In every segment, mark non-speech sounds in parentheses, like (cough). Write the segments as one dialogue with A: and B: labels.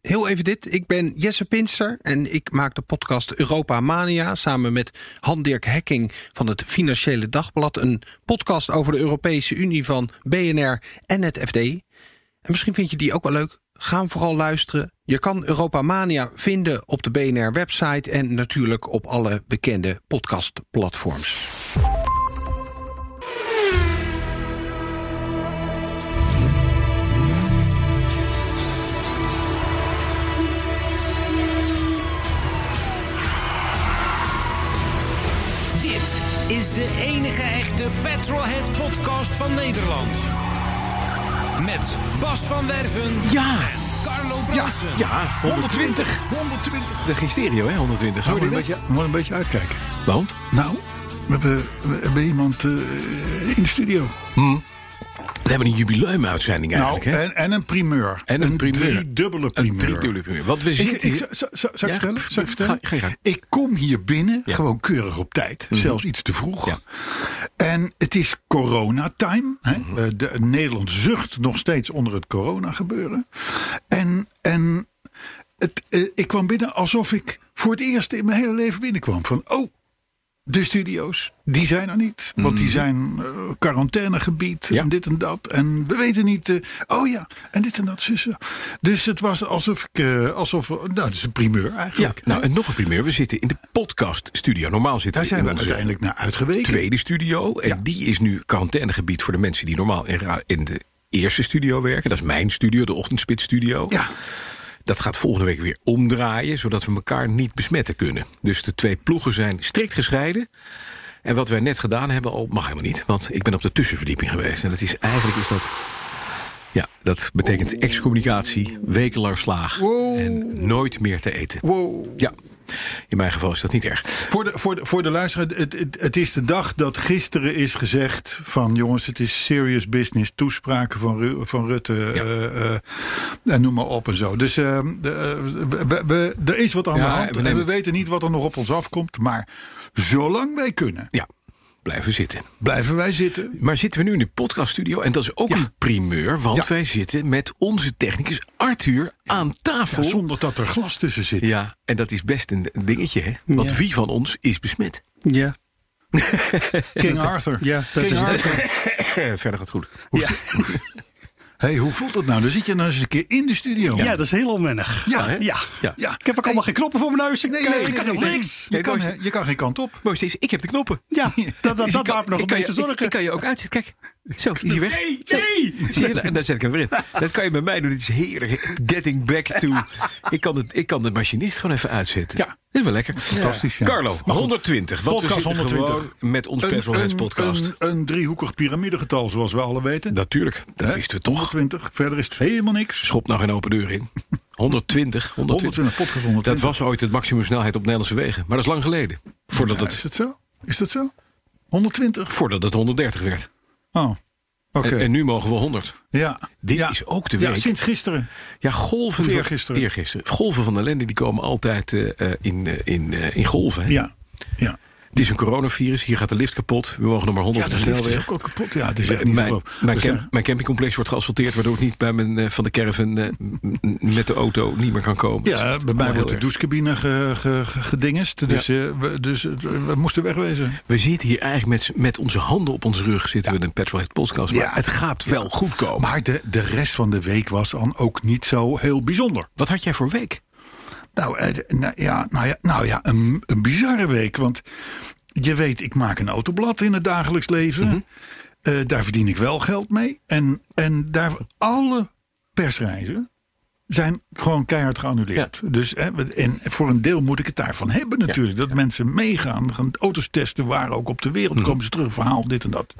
A: heel even dit. Ik ben Jesse Pinster en ik maak de podcast Europa Mania... samen met Han-Dirk Hekking van het Financiële Dagblad... een podcast over de Europese Unie van BNR en het FD. En misschien vind je die ook wel leuk. Ga hem vooral luisteren. Je kan Europa Mania vinden op de BNR-website... en natuurlijk op alle bekende podcastplatforms.
B: Dit is de enige echte Petrolhead podcast van Nederland. Met Bas van Werven.
C: Ja.
B: Carlo
C: Ja,
B: Bronsen.
C: ja, 120. 120. De stereo, hè, 120.
D: Nou,
C: Hoor
D: moet,
C: je
D: een
C: dit?
D: beetje, moet een beetje uitkijken.
C: Want?
D: Nou, we hebben, we hebben iemand eh, in de studio.
C: Hmm. We hebben een jubileumuitzending
D: Nou,
C: eigenlijk, hè?
D: en, en een primeur.
C: En een primeur.
D: driedubbele
C: Een
D: primeur.
C: driedubbele primeur. Want we
D: Ik,
C: zitten
D: ik,
C: hier-
D: zal- zal- zal ik
C: Ja,
D: vertellen? Zal ik
C: ga-
D: vertellen?
C: ga je gang.
D: Ik kom hier binnen,
C: Ja. Mhm.
D: gewoon keurig op tijd. Zelfs iets te vroeg.
C: Ja.
D: En het is coronatime. Hè?
C: Mhm.
D: Eh, de, Nederland zucht nog steeds onder het corona gebeuren. En, en het, eh, ik kwam binnen alsof ik voor het eerst in mijn hele leven binnenkwam. Van, oh, de studio's, die zijn er niet. Want die zijn eh, quarantainegebied
C: Mhm. Ja.
D: en dit en dat. En we weten niet, eh, oh ja, en dit en dat, zussen. Dus het was alsof ik, eh, alsof, we- nou, dat is een primeur
C: Ja,
D: eigenlijk.
C: nou, en nog een primeur. We zitten in de podcaststudio. Normaal zitten
D: Daar
C: we
D: zijn
C: in
D: we
C: onze
D: uiteindelijk naar uitgeweken.
C: tweede studio. En die is nu quarantainegebied voor de mensen die normaal in, ra- in de eerste studio werken. Dat is mijn studio, de ochtendspitstudio.
D: Ja,
C: Dat gaat volgende week weer omdraaien, zodat we elkaar niet besmetten kunnen. Dus de twee ploegen zijn strikt gescheiden. En wat wij net gedaan hebben, al mag helemaal niet. Want ik ben op de tussenverdieping geweest. En dat is eigenlijk is dat. Ja, dat betekent excommunicatie, wekenlang slaag en nooit meer te eten. Ja, in mijn geval is dat niet erg.
D: voor de, voor de, voor de luisteraar, het, het, het is de dag dat gisteren is gezegd van... jongens, het is serious business, toespraken van, Ru- van Rutte, eh, eh, en noem maar op en zo. Dus eh, de, eh, we- we- we- er is wat aan
C: Ja,
D: de
C: we
D: hand. en
C: nemen
D: we
C: het.
D: weten niet wat er nog op ons afkomt. Maar zolang wij kunnen,
C: Ja, blijven zitten.
D: blijven wij zitten.
C: Maar zitten we nu in de podcaststudio? En dat is ook een primeur, want
D: Ja.
C: wij zitten met onze technicus Arthur aan tafel.
D: Ja, zonder dat er glas tussen zit.
C: Ja, en dat is best een dingetje, hè? Want
E: Ja.
C: wie van ons is besmet?
E: Ja,
D: King Arthur.
E: ja, dat
D: King
E: is het.
D: Arthur.
C: (laughs) Verder gaat goed.
D: hey, hoe voelt dat nou? Dan zit je nou eens een keer in de studio.
E: ja, dat is heel onwennig.
D: Ja,
C: hè?
E: Ja.
C: Ja.
D: Ja.
E: Ik heb ook allemaal geen knoppen voor mijn neus. Ik, kan- ik kan
C: nee,
E: ook
C: nee.
E: niks.
D: Je,
C: Nee,
D: kan,
C: dat is-
D: hè, je kan geen kant op.
C: Mooi is, ik heb de knoppen. (laughs)
E: Ja, dat, dat,
C: Dus
E: dat
C: ik kan-
E: baart me nog
C: ik
E: het
C: kan je-
E: meeste
C: ik-
E: zorgen.
C: Ik kan je ook uitzetten, kijk. Zo, is hij weg.
E: Nee,
C: Zo.
E: nee.
C: Zie je, en dan zet ik hem weer in. Dat kan je bij mij doen, dit is heerlijk. Getting back to... Ik kan, het, ik kan de machinist gewoon even uitzetten.
D: Ja.
C: Dat is wel lekker.
D: Fantastisch, ja.
C: Carlo,
D: Maar goed,
C: 120. Want
D: podcast
C: we zitten
D: 120.
C: gewoon met ons Petrolheads podcast.
D: Een, een driehoekig piramidegetal, zoals we alle weten.
C: Natuurlijk, dat
D: Hè?
C: wisten we toch.
D: 120, verder is het helemaal niks.
C: Schop nou geen open deur
D: (laughs)
C: in. 120. 120,
D: 120, podcast 120.
C: Dat was ooit het maximum snelheid op Nederlandse wegen. Maar dat is lang geleden. Voordat,
D: Ja, is
C: het,
D: dat zo? Is dat zo? 120?
C: voordat het 130 werd.
D: Oh, oké.
C: En, en nu mogen we 100.
D: ja.
C: Dit
D: ja.
C: is ook de
D: Ja,
C: week.
D: sinds gisteren.
C: Ja, golven
D: Of
C: van-
D: eergisteren.
C: eergisteren. Golven van ellende die komen altijd eh, eh, in, eh, in, eh, in golven. hè.
D: Ja. Ja.
C: Dit is een coronavirus. Hier gaat de lift kapot. We mogen nog maar 100
D: Ja,
C: op de
D: dat lift is
C: snelweg.
D: ook al kapot. Ja, het is echt niet te
C: Mijn,
D: geloven.
C: mijn,
D: Dus,
C: camp-
D: eh,
C: mijn campingcomplex wordt geasfalteerd, waardoor ik niet bij mijn, eh, van de caravan eh, m- m- met de auto niet meer kan komen. Dus
D: Ja, bij mij wordt de
C: erg.
D: douchecabine ge, ge- ge- gedingest. Dus, eh, we, dus eh, we moesten wegwezen.
C: We zitten hier eigenlijk met, met onze handen op onze rug zitten we in een Petrolhead podcast. Maar
D: Ja.
C: het gaat wel goed komen.
D: Maar de, de rest van de week was dan ook niet zo heel bijzonder.
C: Wat had jij voor week?
D: Nou, eh, d- nou ja, nou ja, nou ja een, een bizarre week. Want je weet, ik maak een autoblad in het dagelijks leven. Eh, daar verdien ik wel geld mee. En, en daar alle persreizen zijn gewoon keihard geannuleerd. Dus hè, we- en voor een deel moet ik het daarvan hebben natuurlijk. Dat mensen meegaan, gaan auto's testen waar ook op de wereld. Komen ze terug, verhaal, dit en dat.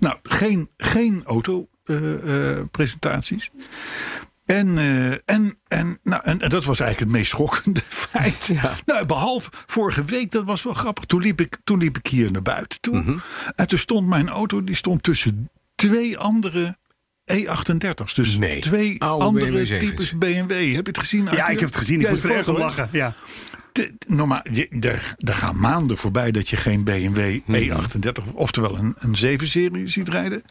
D: Nou, geen, geen auto eh, eh, presentaties. En, eh, en, en, nou, en, en dat was eigenlijk het meest schokkende (laughs) feit. Nou, behalve vorige week, dat was wel grappig. Toen liep ik, toen liep ik hier naar buiten toe.
E: Mhm.
D: En toen stond mijn auto die stond tussen twee andere E38's. Dus
C: Nee,
D: twee
C: oude
D: andere
C: BMW 7's.
D: types BMW. Heb je het gezien?
E: Ja, ik heb het gezien. Ik moest er erg om
D: lachen.
E: lachen. Ja.
D: De- normaal, je- er, er gaan maanden voorbij dat je geen BMW
E: Mhm.
D: E38, E oftewel een, een 7-serie ziet rijden.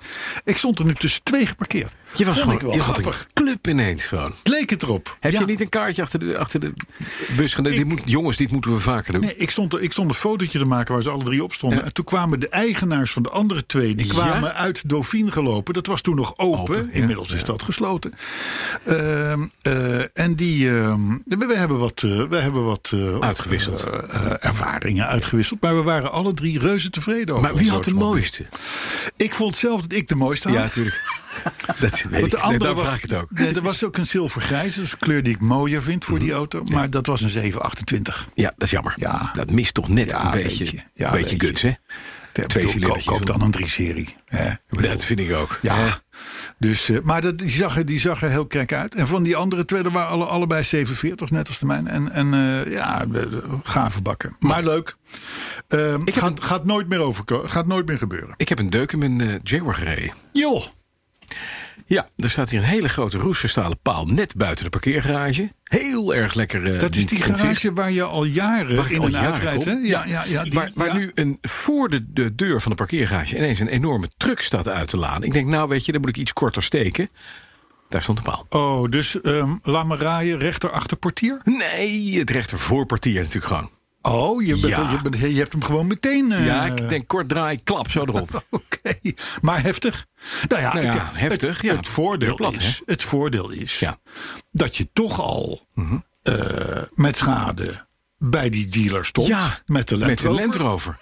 D: Ik stond er nu tussen twee geparkeerd.
C: Je was
D: Vond ik
C: gewoon
D: wel
C: je had
D: grappig.
C: een club ineens gewoon.
D: Leek het erop.
C: Heb
D: Ja.
C: je niet een kaartje achter de, achter de bus gedaan? Dit
D: Ik-
C: moet, jongens, dit moeten we vaker doen.
D: Nee, ik stond, er- ik stond een fotootje te maken waar ze alle drie op stonden. En toen kwamen de eigenaars van de andere twee, die
C: Ja?
D: kwamen uit Dauphine gelopen. Dat was toen nog open.
C: Open, ja.
D: Inmiddels is dat gesloten. Ehm, eh, en die, ehm, we, we hebben wat, eh, we hebben wat eh,
C: Uitgewisseld.
D: eh, eh, ervaringen uitgewisseld. Maar we waren alle drie reuze tevreden over
C: maar wie
D: ons
C: had de
D: automobiel.
C: mooiste?
D: Ik vond zelf dat ik de mooiste had. (laughs)
C: Ja, natuurlijk. dat weet
D: Want
C: ik.
D: de andere
C: Daar
D: was,
C: vraag ik het ook. Mhm.
D: Nee, er was ook een zilvergrijs, dus een kleur die ik mooier vind voor die auto. Maar dat was een 728.
C: Ja, dat is jammer.
D: Ja.
C: Dat mist toch net
D: Ja,
C: een
D: weet
C: beetje,
D: je. Ja,
C: een beetje
D: weet
C: guts,
D: je.
C: hè?
D: Ik
C: Twee
D: bedoel, ko-
C: cilindertjes.
D: koop dan een 3-serie. hè. Ik bedoel,
C: Dat vind ik ook.
D: Ja, dus, eh, maar dat, die, zag er, die zag er heel krek uit. En van die andere twee, er waren alle, allebei 47, net als de mijne. En, en eh, ja, de- de- gave bakken. Maar leuk. Ehm, gaat, gaat, nooit meer overko- gaat nooit meer gebeuren.
C: Ik heb een deuk in mijn eh, Jaguar gereden.
D: Joh,
C: Ja, er staat hier een hele grote roestverstalen paal net buiten de parkeergarage. Heel erg lekker. eh,
D: dat is die
C: ontzicht.
D: garage waar je al jaren
C: Waar ik
D: in
C: al
D: en
C: jaren
D: uit rijdt. hè?
C: kom.
D: Ja, ja, ja, die-
C: waar waar
D: ja.
C: nu een, voor de, de deur van de parkeergarage ineens een enorme truck staat uit te laan. Ik denk, nou weet je, dan moet ik iets korter steken. Daar stond de paal.
D: Oh, dus ehm laat me raaien, rechter achterportier?
C: Nee, het rechtervoorportier natuurlijk gewoon.
D: Oh, je, bent,
C: Ja.
D: je, bent, je hebt hem gewoon meteen... eh,
C: ja, ik denk kort draai, klap, zo
D: (laughs)
C: erop.
D: Oké, maar heftig. Nou ja,
C: Nou ja,
D: ik- Het,
C: heftig, ja.
D: het voordeel
C: Heel plat,
D: is, het voordeel is
C: Ja. Mhm.
D: dat je toch al eh, met schade bij die dealer stond.
C: Ja,
D: met de Land Rover.
C: Land Rover.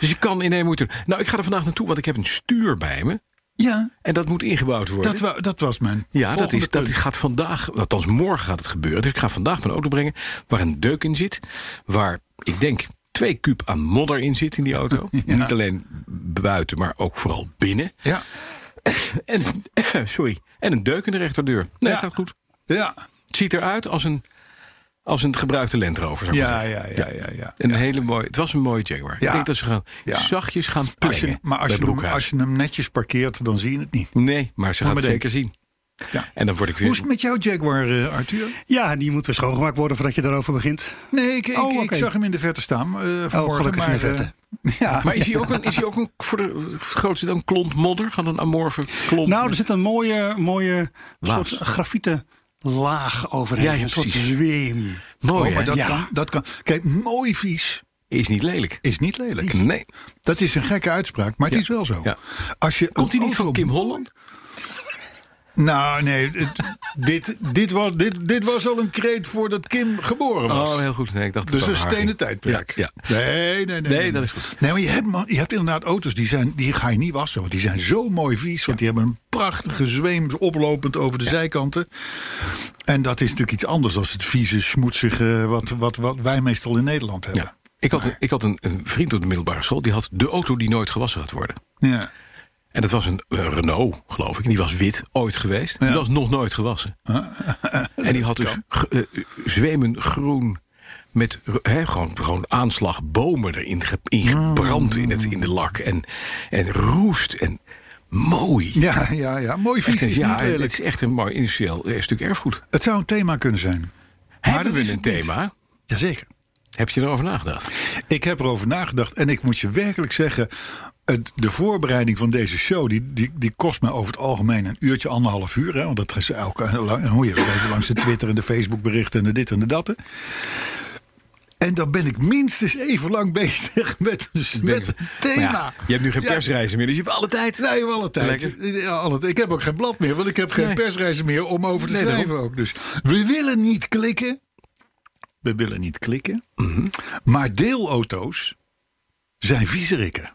C: Dus je kan in één moeite doen. Nou, ik ga er vandaag naartoe, want ik heb een stuur bij me.
D: Ja,
C: En dat moet ingebouwd worden.
D: dat, wa- dat was mijn
C: ja, dat,
D: volgende
C: is, dat
D: punt.
C: is- gaat vandaag, althans morgen gaat het gebeuren. Dus ik ga vandaag mijn auto brengen waar een deuk in zit. Waar ik denk twee kuub aan modder in zit in die
D: (laughs)
C: auto. Niet alleen buiten, maar ook vooral binnen.
D: Ja,
C: En, sorry, en een (clears throat) deuk in de rechterdeur. Nee,
D: Ja.
C: gaat goed.
D: ja,
C: Het ziet eruit als een, als een gebruikte Land Rover. zou ik maar
D: ja,
C: zeggen.
D: ja, ja, ja. ja.
C: Een hele mooie, het was een mooie Jaguar.
D: Ja.
C: Ik denk dat ze gaan
D: Ja.
C: zachtjes gaan
D: Als je,
C: plengen
D: maar als
C: bij
D: je, hem,
C: Broekhuis.
D: als je hem netjes parkeert, dan zie je het niet.
C: Nee, maar ze gaan het
D: maar
C: zeker zien.
D: Ja.
C: En dan word ik weer...
D: Hoe is het met jouw Jaguar, eh, Arthur?
E: ja, die moet weer schoongemaakt worden voordat je daarover begint.
D: Nee, ik, ik,
E: Oh,
D: ik
E: oké.
D: zag hem in de verte staan. eh
C: Oh,
D: vanmorgen,
E: gelukkig in de
D: maar, eh, (laughs)
E: verte.
D: ja,
C: Maar is hij ook een, is hij ook een voor de, voor het grootste dan klont modder? Gewoon een amorfe klont?
E: Nou, er
C: met-
E: zit een mooie, mooie
C: Laag.
E: soort grafieten laag overheen.
C: Ja, ja,
E: een soort
C: precies.
E: zweem.
C: Mooi,
D: Oh, maar
C: hè?
D: dat,
E: Ja.
D: kan, dat kan. Kijk, mooi vies
C: Is niet lelijk.
D: is niet lelijk.
C: Nee.
D: Dat is een gekke uitspraak, maar het is wel zo.
C: Ja.
D: Als je
C: Komt
D: een
C: hij niet
D: auto-
C: van Kim Holland?
D: Nou, nee. het- (laughs) dit, dit, was, dit, dit was al een kreet voordat Kim geboren was.
C: Oh, heel goed. Nee, ik dacht het
D: dus
C: was
D: een
C: haar.
D: stenen tijdperk.
C: Ja, ja.
D: Nee, nee, nee,
C: Nee, dat is goed.
D: Nee, maar je hebt, man- je hebt inderdaad auto's die, zijn, die ga je niet wassen. Want die zijn zo mooi vies. Want die hebben een prachtige zweem oplopend over de zijkanten. En dat is natuurlijk iets anders dan het vieze, smoetsige. wat, wat, wat wij meestal in Nederland hebben.
C: Ja. Ik had, een, ik had een, een vriend op de middelbare school. Die had de auto die nooit gewassen gaat worden.
D: Ja.
C: En dat was een eh, Renault, geloof ik. En die was wit ooit geweest. Die was nog nooit gewassen.
D: Ah.
C: (laughs) en die had dus ge- eh, zwemen groen met ro- hè, gewoon, gewoon aanslag bomen erin ge- in
D: Mm.
C: gebrand in, het, in de lak. En, en roest en mooi.
D: Ja, ja, ja. Mooi
C: Echt
D: vies
C: een-
D: is
C: ja,
D: niet
C: het
D: lelijk.
C: is echt een mooi industrieel eh, stuk erfgoed.
D: Het zou een thema kunnen zijn.
C: Hebben
D: dat is
C: we een
D: het niet.
C: thema?
D: Jazeker.
C: Heb je erover nagedacht?
D: Ik heb erover nagedacht en ik moet je werkelijk zeggen... het- de voorbereiding van deze show die, die, die kost mij over het algemeen een uurtje, anderhalf uur. Hè, want dat is elke, en hoor je dat even langs de Twitter en de Facebook berichten en de dit en de dat. En dan ben ik minstens even lang bezig met, met het
C: Maar
D: thema.
C: ja, je hebt nu geen
D: Ja,
C: persreizen meer, dus je hebt alle tijd.
D: Nee, alle tijd. Ja, alle tijd. Ik heb ook geen blad meer, want ik heb geen
C: Nee.
D: persreizen meer om over te
C: Nee,
D: schrijven
C: daarom.
D: ook. Dus we willen niet klikken. We willen niet klikken.
C: Mhm.
D: Maar deelauto's zijn viezerikken.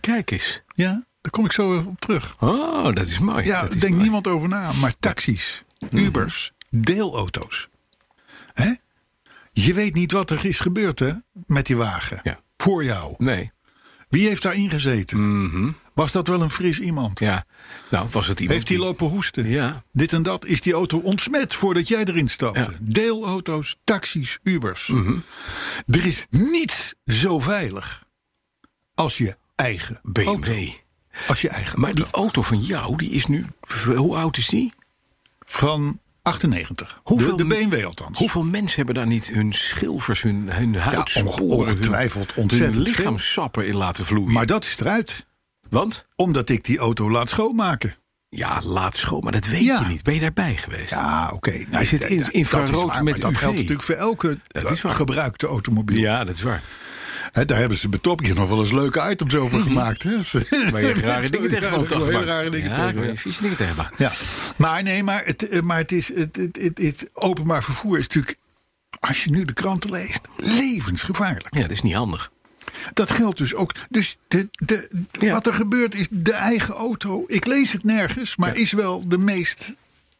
C: Kijk eens.
D: Ja, daar kom ik zo even op terug.
C: Oh, dat is mooi.
D: Ja,
C: dat
D: daar
C: is Mhm.
D: denkt
C: mooi.
D: niemand over na. Maar taxis, Ubers, deelauto's. Hè? Je weet niet wat er is gebeurd hè, met die wagen.
C: Ja.
D: Voor jou.
C: Nee. Mhm.
D: Wie heeft daarin gezeten? Was dat wel een fris iemand?
C: Ja, nou was het iemand.
D: Heeft hij
C: die-
D: lopen hoesten?
C: Ja.
D: Dit en dat is die auto ontsmet voordat jij erin stapte.
C: Ja. Mhm.
D: Deelauto's, taxis, Ubers. Er is niets zo veilig als je eigen
C: BMW.
D: auto. Als je eigen
C: Maar die
D: auto.
C: auto van jou, die is nu. Hoe oud is die?
D: Van 98.
C: Hoeveel-
D: de, de BMW althans.
C: Hoeveel mensen hebben daar niet hun schilfers, hun, hun huidsporen, hun-
D: ongetwijfeld ontzettend
C: hun
D: veel.
C: lichaamsappen in laten vloeien?
D: Maar dat is eruit.
C: Want?
D: Omdat ik die auto laat schoonmaken.
C: Ja, laat schoon, maar dat weet
D: Ja.
C: je niet. Ben je daarbij geweest?
D: Ja, oké. Nou,
C: Is het
D: ja,
C: in-
D: dat
C: infrarood
D: is waar,
C: met
D: maar dat
C: UV?
D: geldt natuurlijk voor elke
C: Dat is
D: eh,
C: waar.
D: gebruikte automobiel.
C: Ja, dat is waar.
D: Hè, daar hebben ze betop. Je hebt nog wel eens leuke items
C: (laughs)
D: over gemaakt. Hè? (laughs)
C: Maar je hebt rare dingen tegen
D: Ja,
C: van
D: hele rare dingen
C: ja,
D: tegen,
C: ik
D: ja.
C: weet vieze dingen tegen. elkaar.
D: Ja, maar nee, maar het, eh, maar het is. Het, het, het, het openbaar vervoer is natuurlijk. Als je nu de kranten leest, levensgevaarlijk.
C: Ja, dat is niet handig.
D: Dat geldt dus ook. Dus de, de,
C: Ja.
D: wat er gebeurt is de eigen auto. Ik lees het nergens, maar is wel de meest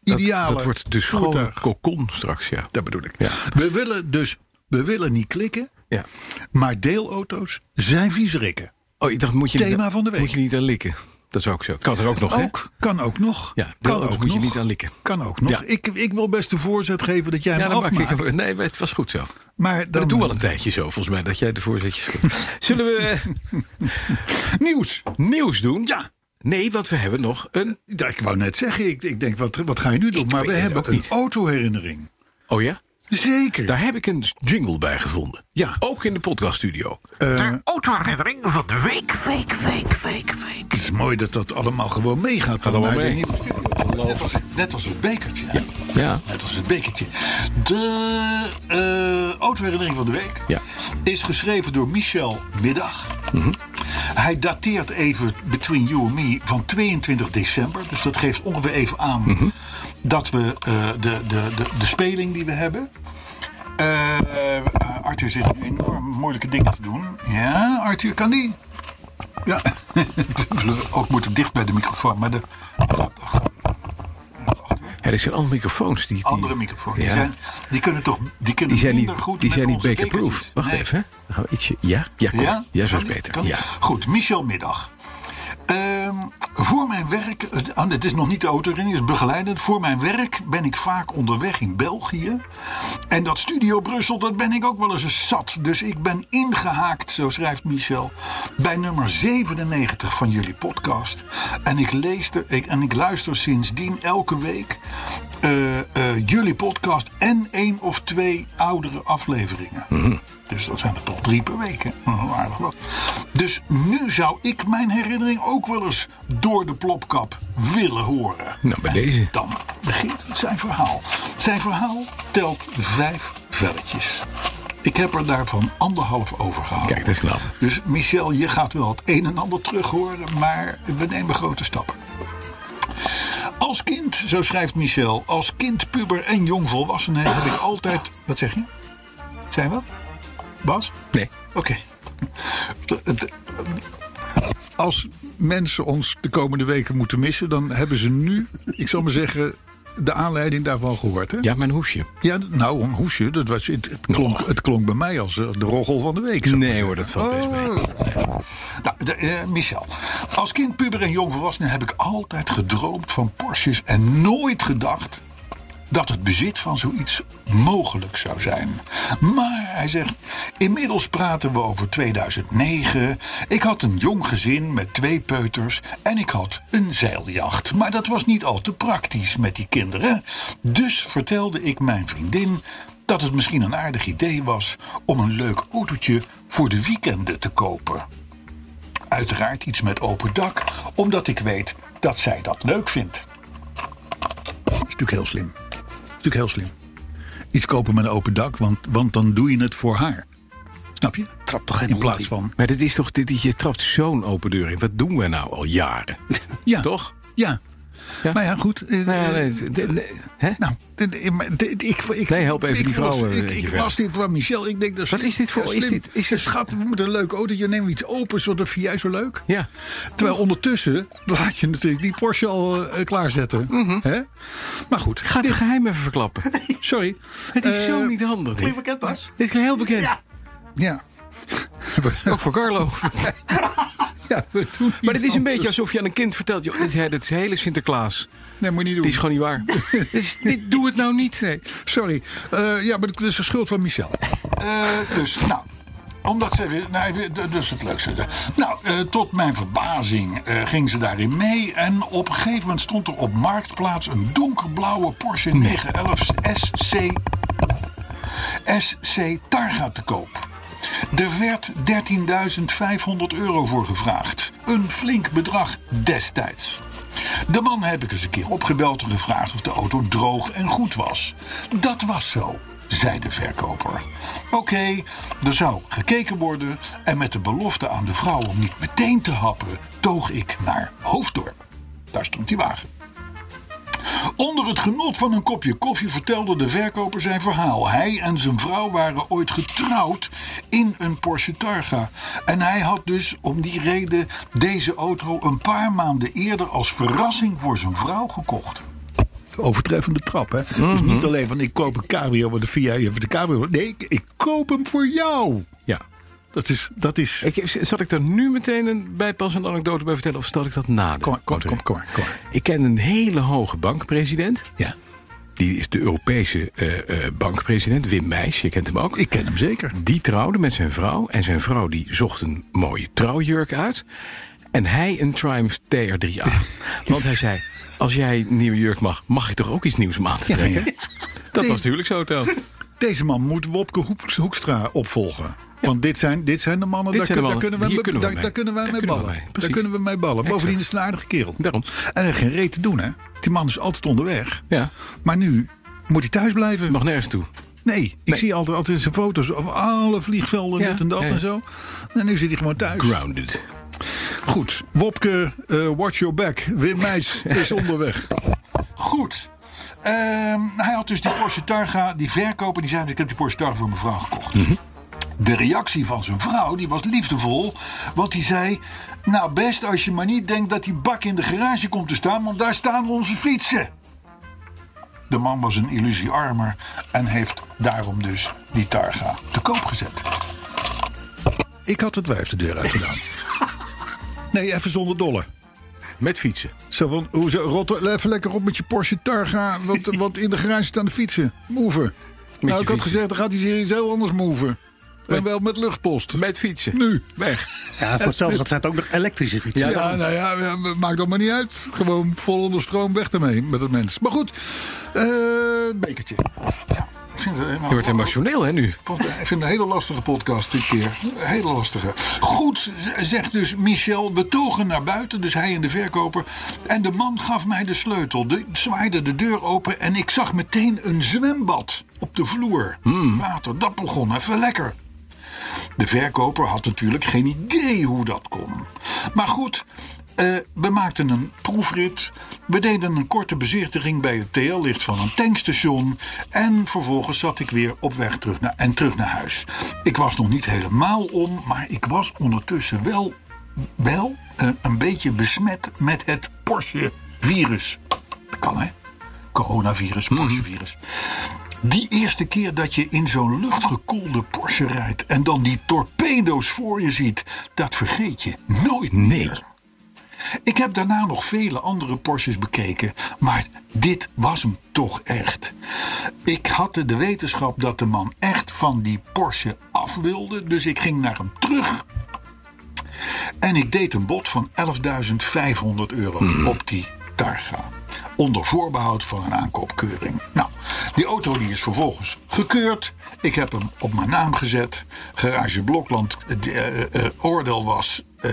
D: ideale.
C: dat wordt de schone
D: voertuig.
C: kokon straks, ja.
D: Dat bedoel ik. We willen dus. We willen niet klikken,
C: ja.
D: maar deelauto's zijn viezerikken.
C: Oh, ik dacht, moet je,
D: Thema
C: niet,
D: van de week.
C: moet je niet aan likken. Dat is ook zo. Kan er ook nog, hè?
D: Ook, kan ook nog.
C: Ja,
D: kan
C: deelauto's
D: ook
C: moet je
D: nog.
C: niet aan likken.
D: Kan ook nog.
C: Ja.
D: Ik, ik wil best de voorzet geven dat jij
C: Ja,
D: hem
C: dan maak (laughs)
D: afmaakt.
C: ik een- Nee, maar het was goed zo.
D: Maar dan,
C: dat doen we al een tijdje zo, volgens mij, dat jij de voorzetjes geeft. (laughs) Zullen we eh, (laughs) nieuws. nieuws doen? Ja. Nee, want we hebben nog een...
D: Ja, ik wou net zeggen, ik, ik denk, wat, wat ga je nu doen?
C: Ik
D: maar
C: weet
D: we
C: het
D: hebben
C: ook
D: een
C: niet.
D: autoherinnering.
C: Oh ja?
D: Zeker.
C: Daar heb ik een jingle bij gevonden.
D: Ja.
C: Ook in de podcaststudio.
D: Het is mooi dat dat allemaal gewoon meegaat. dan
C: allemaal
D: naar de
C: mee.
D: nieuwe studio. Net als, net als het bekertje. hè?
C: Ja.
D: Net als het bekertje. De eh autoherinnering van de week
C: Ja.
D: is geschreven door Michel Middag. Hij dateert even Between You and Me van 22 december. Dus dat geeft ongeveer even aan dat we eh, de, de, de, de speling die we hebben. Eh, eh, Arthur zit enorm moeilijke dingen te doen. Ja, Arthur, kan die? Ja, (laughs) ook moeten dicht bij de microfoon. Maar de
C: Ja, er zijn andere microfoons die... die-
D: andere microfoon. Die,
C: Ja.
D: zijn, die kunnen toch die kunnen
C: Die zijn niet,
D: minder goed
C: die
D: met
C: zijn niet
D: onze
C: bekerproof.
D: bekertjes.
C: Wacht
D: Nee.
C: even. hè. Dan gaan we ietsje... Ja? Ja, kom.
D: Ja?
C: ja? zo
D: Kan
C: is
D: die?
C: beter.
D: Kan die?
C: Ja.
D: Goed, Michel Middag. Ehm, voor mijn werk, oh, dit is nog niet de autoherinnering, het is begeleidend. Voor mijn werk ben ik vaak onderweg in België. En dat studio Brussel, dat ben ik ook wel eens eens zat. Dus ik ben ingehaakt, zo schrijft Michel, bij nummer 97 van jullie podcast. En ik, lees er, ik, en ik luister sindsdien elke week eh, eh, jullie podcast en één of twee oudere afleveringen.
C: Mhm.
D: Dus dat zijn er toch drie per week. Hè? Nou, aardig wat. Dus nu zou ik mijn herinnering ook wel eens door de plopkap willen horen.
C: Nou, bij
D: En
C: deze.
D: Dan begint zijn verhaal. Zijn verhaal telt vijf velletjes. Ik heb er daarvan anderhalf over gehaald.
C: Kijk, dat is knap.
D: Dus Michel, je gaat wel het een en ander terug horen, maar we nemen grote stappen. Als kind, zo schrijft Michel, als kind, puber en jongvolwassene heb ik altijd. Wat zeg je? Zijn wat? Bas?
C: Nee.
D: Oké. De- de- Als mensen ons de komende weken moeten missen, dan hebben ze nu, ik zal maar zeggen, de aanleiding daarvan gehoord. Hè?
C: Ja, mijn hoesje.
D: Ja, nou, een hoesje, dat was, het, het klonk, het klonk bij mij als eh, de roggel van de week. zou ik
C: Nee
D: maar
C: hoor, dat
D: zeggen.
C: valt best mee.
D: Nou, de, eh, Michel. Als kind, puber en jongvolwassene heb ik altijd gedroomd van Porsches en nooit gedacht dat het bezit van zoiets mogelijk zou zijn. Maar hij zegt, inmiddels praten we over 2009. Ik had een jong gezin met twee peuters en ik had een zeiljacht. Maar dat was niet al te praktisch met die kinderen. Dus vertelde ik mijn vriendin dat het misschien een aardig idee was om een leuk autootje voor de weekenden te kopen. Uiteraard iets met open dak, omdat ik weet dat zij dat leuk vindt. Is natuurlijk heel slim. Is natuurlijk heel slim. Iets kopen met een open dak, want, want dan doe je het voor haar. Snap je?
A: Trap toch geen
D: In plaats
A: hond
D: van.
C: Maar dit is toch, dit, is- je trapt zo'n open deur in. Wat doen we nou al jaren?
D: Ja.
C: Toch?
D: Ja.
C: Ja?
D: Maar ja, goed. eh,
C: Nou, nee, het- nee, nee, hè?
D: Nou, dit- eh, maar dit- ik, ik,
C: Nee, help even
D: ik
C: die
D: las-
C: vrouwen een
D: Ik,
C: beetje
D: ik
C: verder.
D: las dit van Michel. Ik denk, dat
C: Wat is dit voor-
D: ja,
C: is
D: slim.
C: dit- is dit-
D: Schat, we moeten een leuk autootje nemen. Iets opens, want dat vind jij zo leuk.
C: Ja.
D: Terwijl ondertussen laat je natuurlijk die Porsche al eh, klaarzetten.
C: Mhm.
D: Hè? Maar goed.
C: (laughs) Ga het geheim even verklappen.
D: Sorry.
C: Het is zo
D: Eh,
C: niet handig. Dit. Dit is heel bekend.
D: Ja.
F: (laughs)
C: Ook voor Carlo.
F: Ja, we doen
C: Maar
F: niet
C: het is een
F: anders.
C: beetje alsof je aan een kind vertelt... Joh, dit, is- dit is hele Sinterklaas.
F: Nee, moet je niet doen.
C: Dit is gewoon niet waar. (laughs) dit, is- dit, doe het nou niet.
F: Nee, sorry. Eh, ja, maar dat is de schuld van Michel. Eh, dus, nou. Omdat ze weer. Nee, weer- d- dus het leukste. Nou, eh, tot mijn verbazing eh, ging ze daarin mee. En op een gegeven moment stond er op marktplaats een donkerblauwe Porsche 911 SC. SC Targa te koop. Er werd 13.500 euro voor gevraagd. Een flink bedrag destijds. De man heb ik eens een keer opgebeld en gevraagd of de auto droog en goed was. Dat was zo, zei de verkoper. Oké, er zou gekeken worden en met de belofte aan de vrouw om niet meteen te happen, toog ik naar Hoofddorp. Daar stond die wagen. Onder het genot van een kopje koffie vertelde de verkoper zijn verhaal. Hij en zijn vrouw waren ooit getrouwd in een Porsche Targa. En hij had dus om die reden deze auto een paar maanden eerder als verrassing voor zijn vrouw gekocht. Overtreffende trap, hè? Dus
C: Mhm.
F: niet alleen van ik koop een cabrio, want de via je de cabrio. Nee, ik, ik koop hem voor jou.
C: Ja.
F: Dat is. Dat is
C: Ik, zal ik daar nu meteen een bijpassende anekdote bij vertellen... of zal ik dat na?
F: kom, maar, kom, kom, kom, maar, kom. maar.
C: Ik ken een hele hoge bankpresident.
F: Ja,
C: Die is de Europese eh, eh, bankpresident, Wim Meijs. Je kent hem ook.
F: ik ken hem zeker.
C: Die trouwde met zijn vrouw. En zijn vrouw die zocht een mooie trouwjurk uit. En hij een Triumph TR3A.
D: (laughs)
C: Want hij zei, als jij een nieuwe jurk mag... mag ik toch ook iets nieuws om aan te
F: Ja,
C: trekken?
F: ja.
C: (laughs) Dat
F: Die-
C: was de huwelijksauto.
F: Deze man moet Wopke Hoek- Hoekstra opvolgen. Want dit zijn, dit zijn de mannen,
C: Dit
F: daar,
C: zijn de
F: kun- daar
C: mannen. Hier
F: kunnen
C: kunnen
F: we,
C: we
F: daar,
C: mee.
F: daar kunnen wij
C: Daar
F: mee
C: kunnen we
F: ballen.
C: mee.
F: daar
C: Precies.
F: kunnen we mee ballen.
C: Exact.
F: Bovendien is het een aardige kerel.
C: Daarom.
F: En hij heeft geen reet te doen, hè? Die man is altijd onderweg.
C: Ja.
F: Maar nu moet hij thuis blijven.
C: Mag nergens toe.
F: Nee, ik
C: Nee.
F: zie altijd, altijd zijn foto's over alle vliegvelden,
C: Ja,
F: dit en dat
C: ja, ja.
F: en zo. En nu zit hij gewoon thuis.
C: Grounded.
F: Goed, Wopke, eh, watch your back. Wim
C: (laughs)
F: Meijs is onderweg. Goed. Ehm, hij had dus die Porsche Targa, die verkoper, die zei... ik heb die Porsche Targa voor mijn vrouw gekocht.
C: Mhm.
F: De reactie van zijn vrouw die was liefdevol, want die zei... nou best als je maar niet denkt dat die bak in de garage komt te staan... want daar staan onze fietsen. De man was een illusie armer en heeft daarom dus die Targa te koop gezet. Ik had het wijf de deur uit
C: (laughs)
F: gedaan. Nee, even zonder dolle.
C: Met fietsen.
F: Zo van, hoezo, rot even lekker op met je Porsche Targa, want,
C: (laughs)
F: want in de garage staan de fietsen. Moeven. Nou, ik had
C: fietsen.
F: gezegd, dan gaat hij zich iets heel anders moeven. En wel met luchtpost.
C: Met fietsen.
F: Nu.
C: Weg.
D: Ja, voor hetzelfde geld zijn het ook nog elektrische fietsen.
F: Ja, nou ja, ja, maakt dat maar niet uit. Gewoon vol onder stroom weg ermee met het mens. Maar goed, eh bekertje. Ja, ik vind het helemaal-
C: Je wordt emotioneel, hè, nu?
F: Ik vond- Ik vind het een hele lastige podcast dit keer. Een hele lastige. Goed, z- zegt dus Michel. We togen naar buiten, dus hij en de verkoper. En de man gaf mij de sleutel. De, zwaaide de deur open en ik zag meteen een zwembad op de vloer. Water, dat begon even lekker. De verkoper had natuurlijk geen idee hoe dat kon. Maar goed, eh, we maakten een proefrit. We deden een korte bezichtiging bij het TL-licht van een tankstation. En vervolgens zat ik weer op weg terug naar, en terug naar huis. Ik was nog niet helemaal om, maar ik was ondertussen wel, wel eh, een beetje besmet met het Porsche-virus. Dat kan hè? Coronavirus, Porsche-virus. Die eerste keer dat je in zo'n luchtgekoelde Porsche rijdt en dan die torpedo's voor je ziet, dat vergeet je nooit meer. Ik heb daarna nog vele andere Porsches bekeken, maar dit was hem toch echt. Ik had de wetenschap dat de man echt van die Porsche af wilde, dus ik ging naar hem terug. En ik deed een bod van 11.500 euro op die Targa. Onder voorbehoud van een aankoopkeuring. Nou, die auto die is vervolgens gekeurd. Ik heb hem op mijn naam gezet. Garage Blokland, eh, eh, eh, oordeel was eh,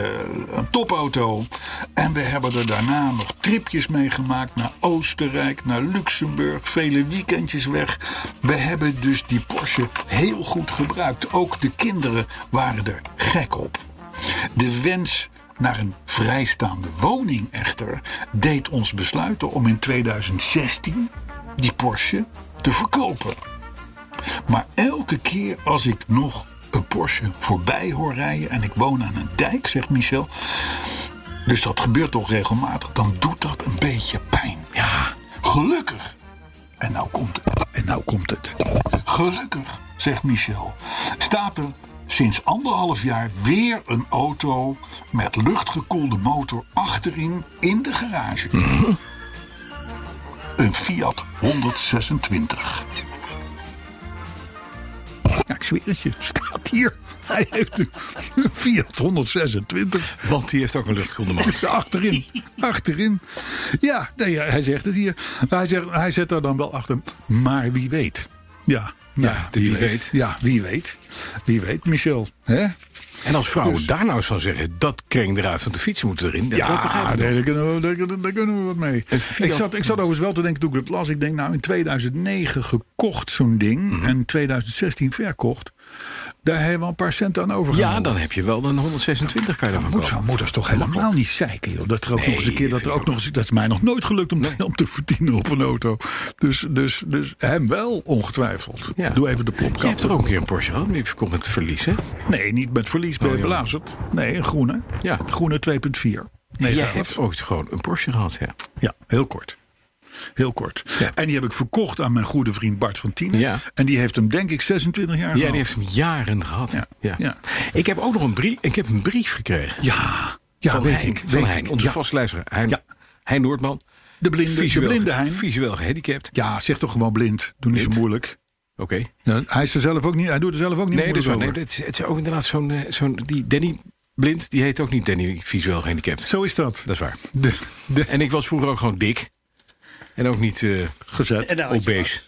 F: een topauto. En we hebben er daarna nog tripjes mee gemaakt naar Oostenrijk, naar Luxemburg. Vele weekendjes weg. We hebben dus die Porsche heel goed gebruikt. Ook de kinderen waren er gek op. De wens naar een vrijstaande woning echter deed ons besluiten om in 2016 die Porsche te verkopen. Maar elke keer als ik nog een Porsche voorbij hoor rijden en ik woon aan een dijk, zegt Michel, dus dat gebeurt toch regelmatig, dan doet dat een beetje pijn. Ja, gelukkig. En nou komt het. En nou komt het. Gelukkig, zegt Michel, staat er
D: sinds anderhalf jaar weer een auto met luchtgekoelde motor achterin in de garage. Een Fiat 126. Ja, ik zweer het je. Staat hier. Hij heeft
F: (laughs)
D: nu een Fiat 126.
C: Want die heeft ook een luchtkoelde motor.
D: Ja, (laughs) Achterin. Achterin. Ja, nee, ja, hij zegt het hier. Hij, zegt, hij zet daar dan wel achter. Maar wie weet. Ja, nou,
C: Ja, wie weet.
D: Ja, wie weet. Wie weet, Michel. hè?
C: En als vrouwen daar nou eens van zeggen, dat kring eruit, want de fietsen moeten erin. dat- dat begrijp
D: Dus- Ja,
C: ik
D: nee,
C: nog.
D: daar, kunnen we, daar, kunnen- daar kunnen we wat mee.
C: Een Fiat-
D: Ik zat, ik zat overigens wel te denken toen ik het las. Ik denk, nou, in 2009 gekocht zo'n ding. En 2016 verkocht. Daar hebben we een paar cent aan overgehouden.
C: ja, dan heb je wel een 126 kan
D: Dat
C: je daarvan
D: moet zo,
C: kopen.
D: moeders toch helemaal niet zeiken, joh. Dat er ook nog eens een keer, dat
C: vind
D: er
C: ik
D: ook nog eens, dat is mij nog nooit gelukt om, te- (laughs) om te verdienen op een auto. Dus, dus, dus hem wel, ongetwijfeld.
C: Ja.
D: Doe even de
C: Je hebt
D: plopkap.
C: er ook een keer een Porsche gehad, maar die komt met verlies, hè?
D: Nee, niet met verlies ben je
C: jammer.
D: belazerd. Nee, een groene.
C: Oh, Ja.
D: Groene 2.4. Nee,
C: Jij
D: gaaf.
C: hebt ooit gewoon een Porsche gehad, ja.
D: Ja, heel kort. Heel kort. En die heb ik verkocht aan mijn goede vriend Bart van Tienen.
C: Ja.
D: En die heeft hem denk ik 26 jaar
C: Ja,
D: gehad.
C: die heeft hem jaren gehad.
D: Ja, ja.
C: Ik heb ook nog een brief, ik heb een brief gekregen.
D: ja, ja
C: van
D: weet
C: Hein,
D: ik.
C: Van
D: weet
C: Hein,
D: ik.
C: onze
D: Ja.
C: vaste luisteraar. Hein,
D: Ja.
C: Hein Noordman.
D: De blinde- de
C: visueel,
D: blinde Hein.
C: Visueel gehandicapt.
D: ja, zeg toch gewoon blind. Doe niet zo
C: Blind.
D: moeilijk.
C: Oké.
D: Ja, hij, is er zelf ook niet, hij doet er zelf ook niet
C: Nee, dat
D: moeilijk
C: is wel.
D: over.
C: Nee, dat is, het is ook inderdaad zo'n... eh, zo'n die Danny Blind, die heet ook niet Danny visueel gehandicapt.
D: Zo is dat.
C: Dat is waar.
D: De, de,
C: En ik was vroeger ook gewoon dik. En ook niet eh
D: gezet.
E: daar had je
C: obese.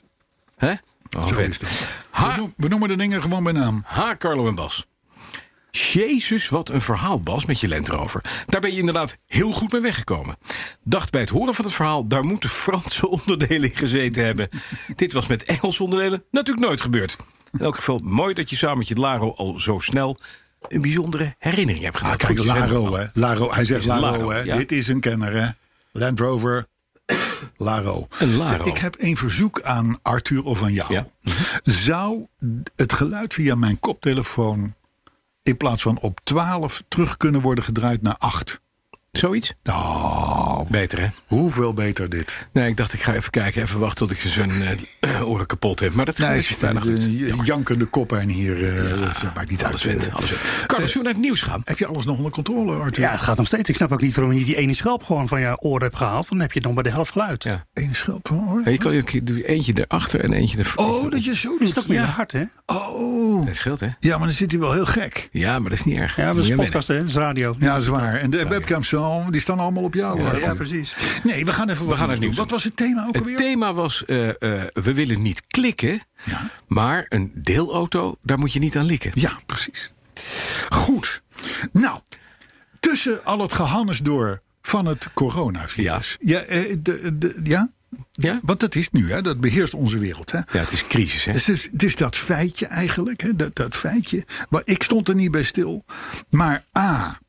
C: Hè? Oh, vet.
D: We
C: Ha,
D: noem- We noemen de dingen gewoon bij naam.
C: ha, Carlo en Bas. Jezus, wat een verhaal, Bas, met je Land Rover. Daar ben je inderdaad heel goed mee weggekomen. Dacht bij het horen van het verhaal, daar moeten Franse (laughs) onderdelen in gezeten hebben. Dit was met Engelse onderdelen natuurlijk nooit gebeurd. In elk geval mooi dat je samen met je Laro al zo snel een bijzondere herinnering hebt
D: Ah,
C: gedaan.
D: kijk,
C: Goed, je bent-
D: Laro, hè. Laro, hij zegt
C: Dit is een
D: Laro,
C: Laro,
D: hè.
C: ja.
D: Dit is een kenner, hè. Land Rover, (coughs) Laro.
C: Een Laro.
D: Zeg, ik heb een verzoek aan Arthur of aan jou.
C: Ja.
D: Zou het geluid via mijn koptelefoon... in plaats van op 12 terug kunnen worden gedraaid naar 8?
C: Zoiets?
D: Nou,
C: Beter, hè?
D: hoeveel beter dit.
C: Nee, ik dacht ik ga even kijken, even wachten tot ik ze zijn eh, (clears throat) oren kapot heb. Maar dat gaat
D: Nee,
C: best fijn. Nou, goed.
D: je- jankende kop en hier, eh, dat maakt niet
C: Alles
D: uit.
C: wint, alles
D: Eh,
C: wint. Carlos, zullen we naar het nieuws gaan?
D: Heb je alles nog onder controle, Arthur?
E: Ja, het gaat nog steeds. Ik snap ook niet waarom je niet die ene schelp gewoon van je oor hebt gehaald. Dan heb je het nog bij de helft geluid.
C: Ja.
D: Eén schelp, hoor.
C: Ja, je kan je ook doe je eentje erachter en eentje ervoor.
D: Oh, dat je zo
E: Dat
D: doet.
E: is ook minder hard, hè?
D: Oh.
C: Dat scheelt, hè?
D: Ja, maar dan zit hij wel heel gek.
C: Ja, maar dat is niet erg.
E: Ja, dat
C: Moet
E: is
C: je
E: een
C: wennen.
E: podcast, hè? Dat is radio.
D: Ja, zwaar. En de webcams zo, die staan allemaal op jou. hoor.
E: Ja, precies.
D: Nee, we gaan even wat
C: gaan
D: nieuws
C: het nieuws
D: doen. Wat
C: doen.
D: was het thema ook
C: Het
D: alweer?
C: thema was, eh, eh, we willen niet klikken,
D: Ja.
C: maar een deelauto, daar moet je niet aan likken.
D: Ja, precies. Goed. Nou, tussen al het gehannes door van het coronavirus. Ja, eh, de, de, ja?
C: Ja?
D: want dat is nu, hè? dat beheerst onze wereld. Hè?
C: Ja, het is crisis, hè?
D: Dus, dus, dus dat feitje eigenlijk, hè, dat, dat feitje. Maar ik stond er niet bij stil. Maar A,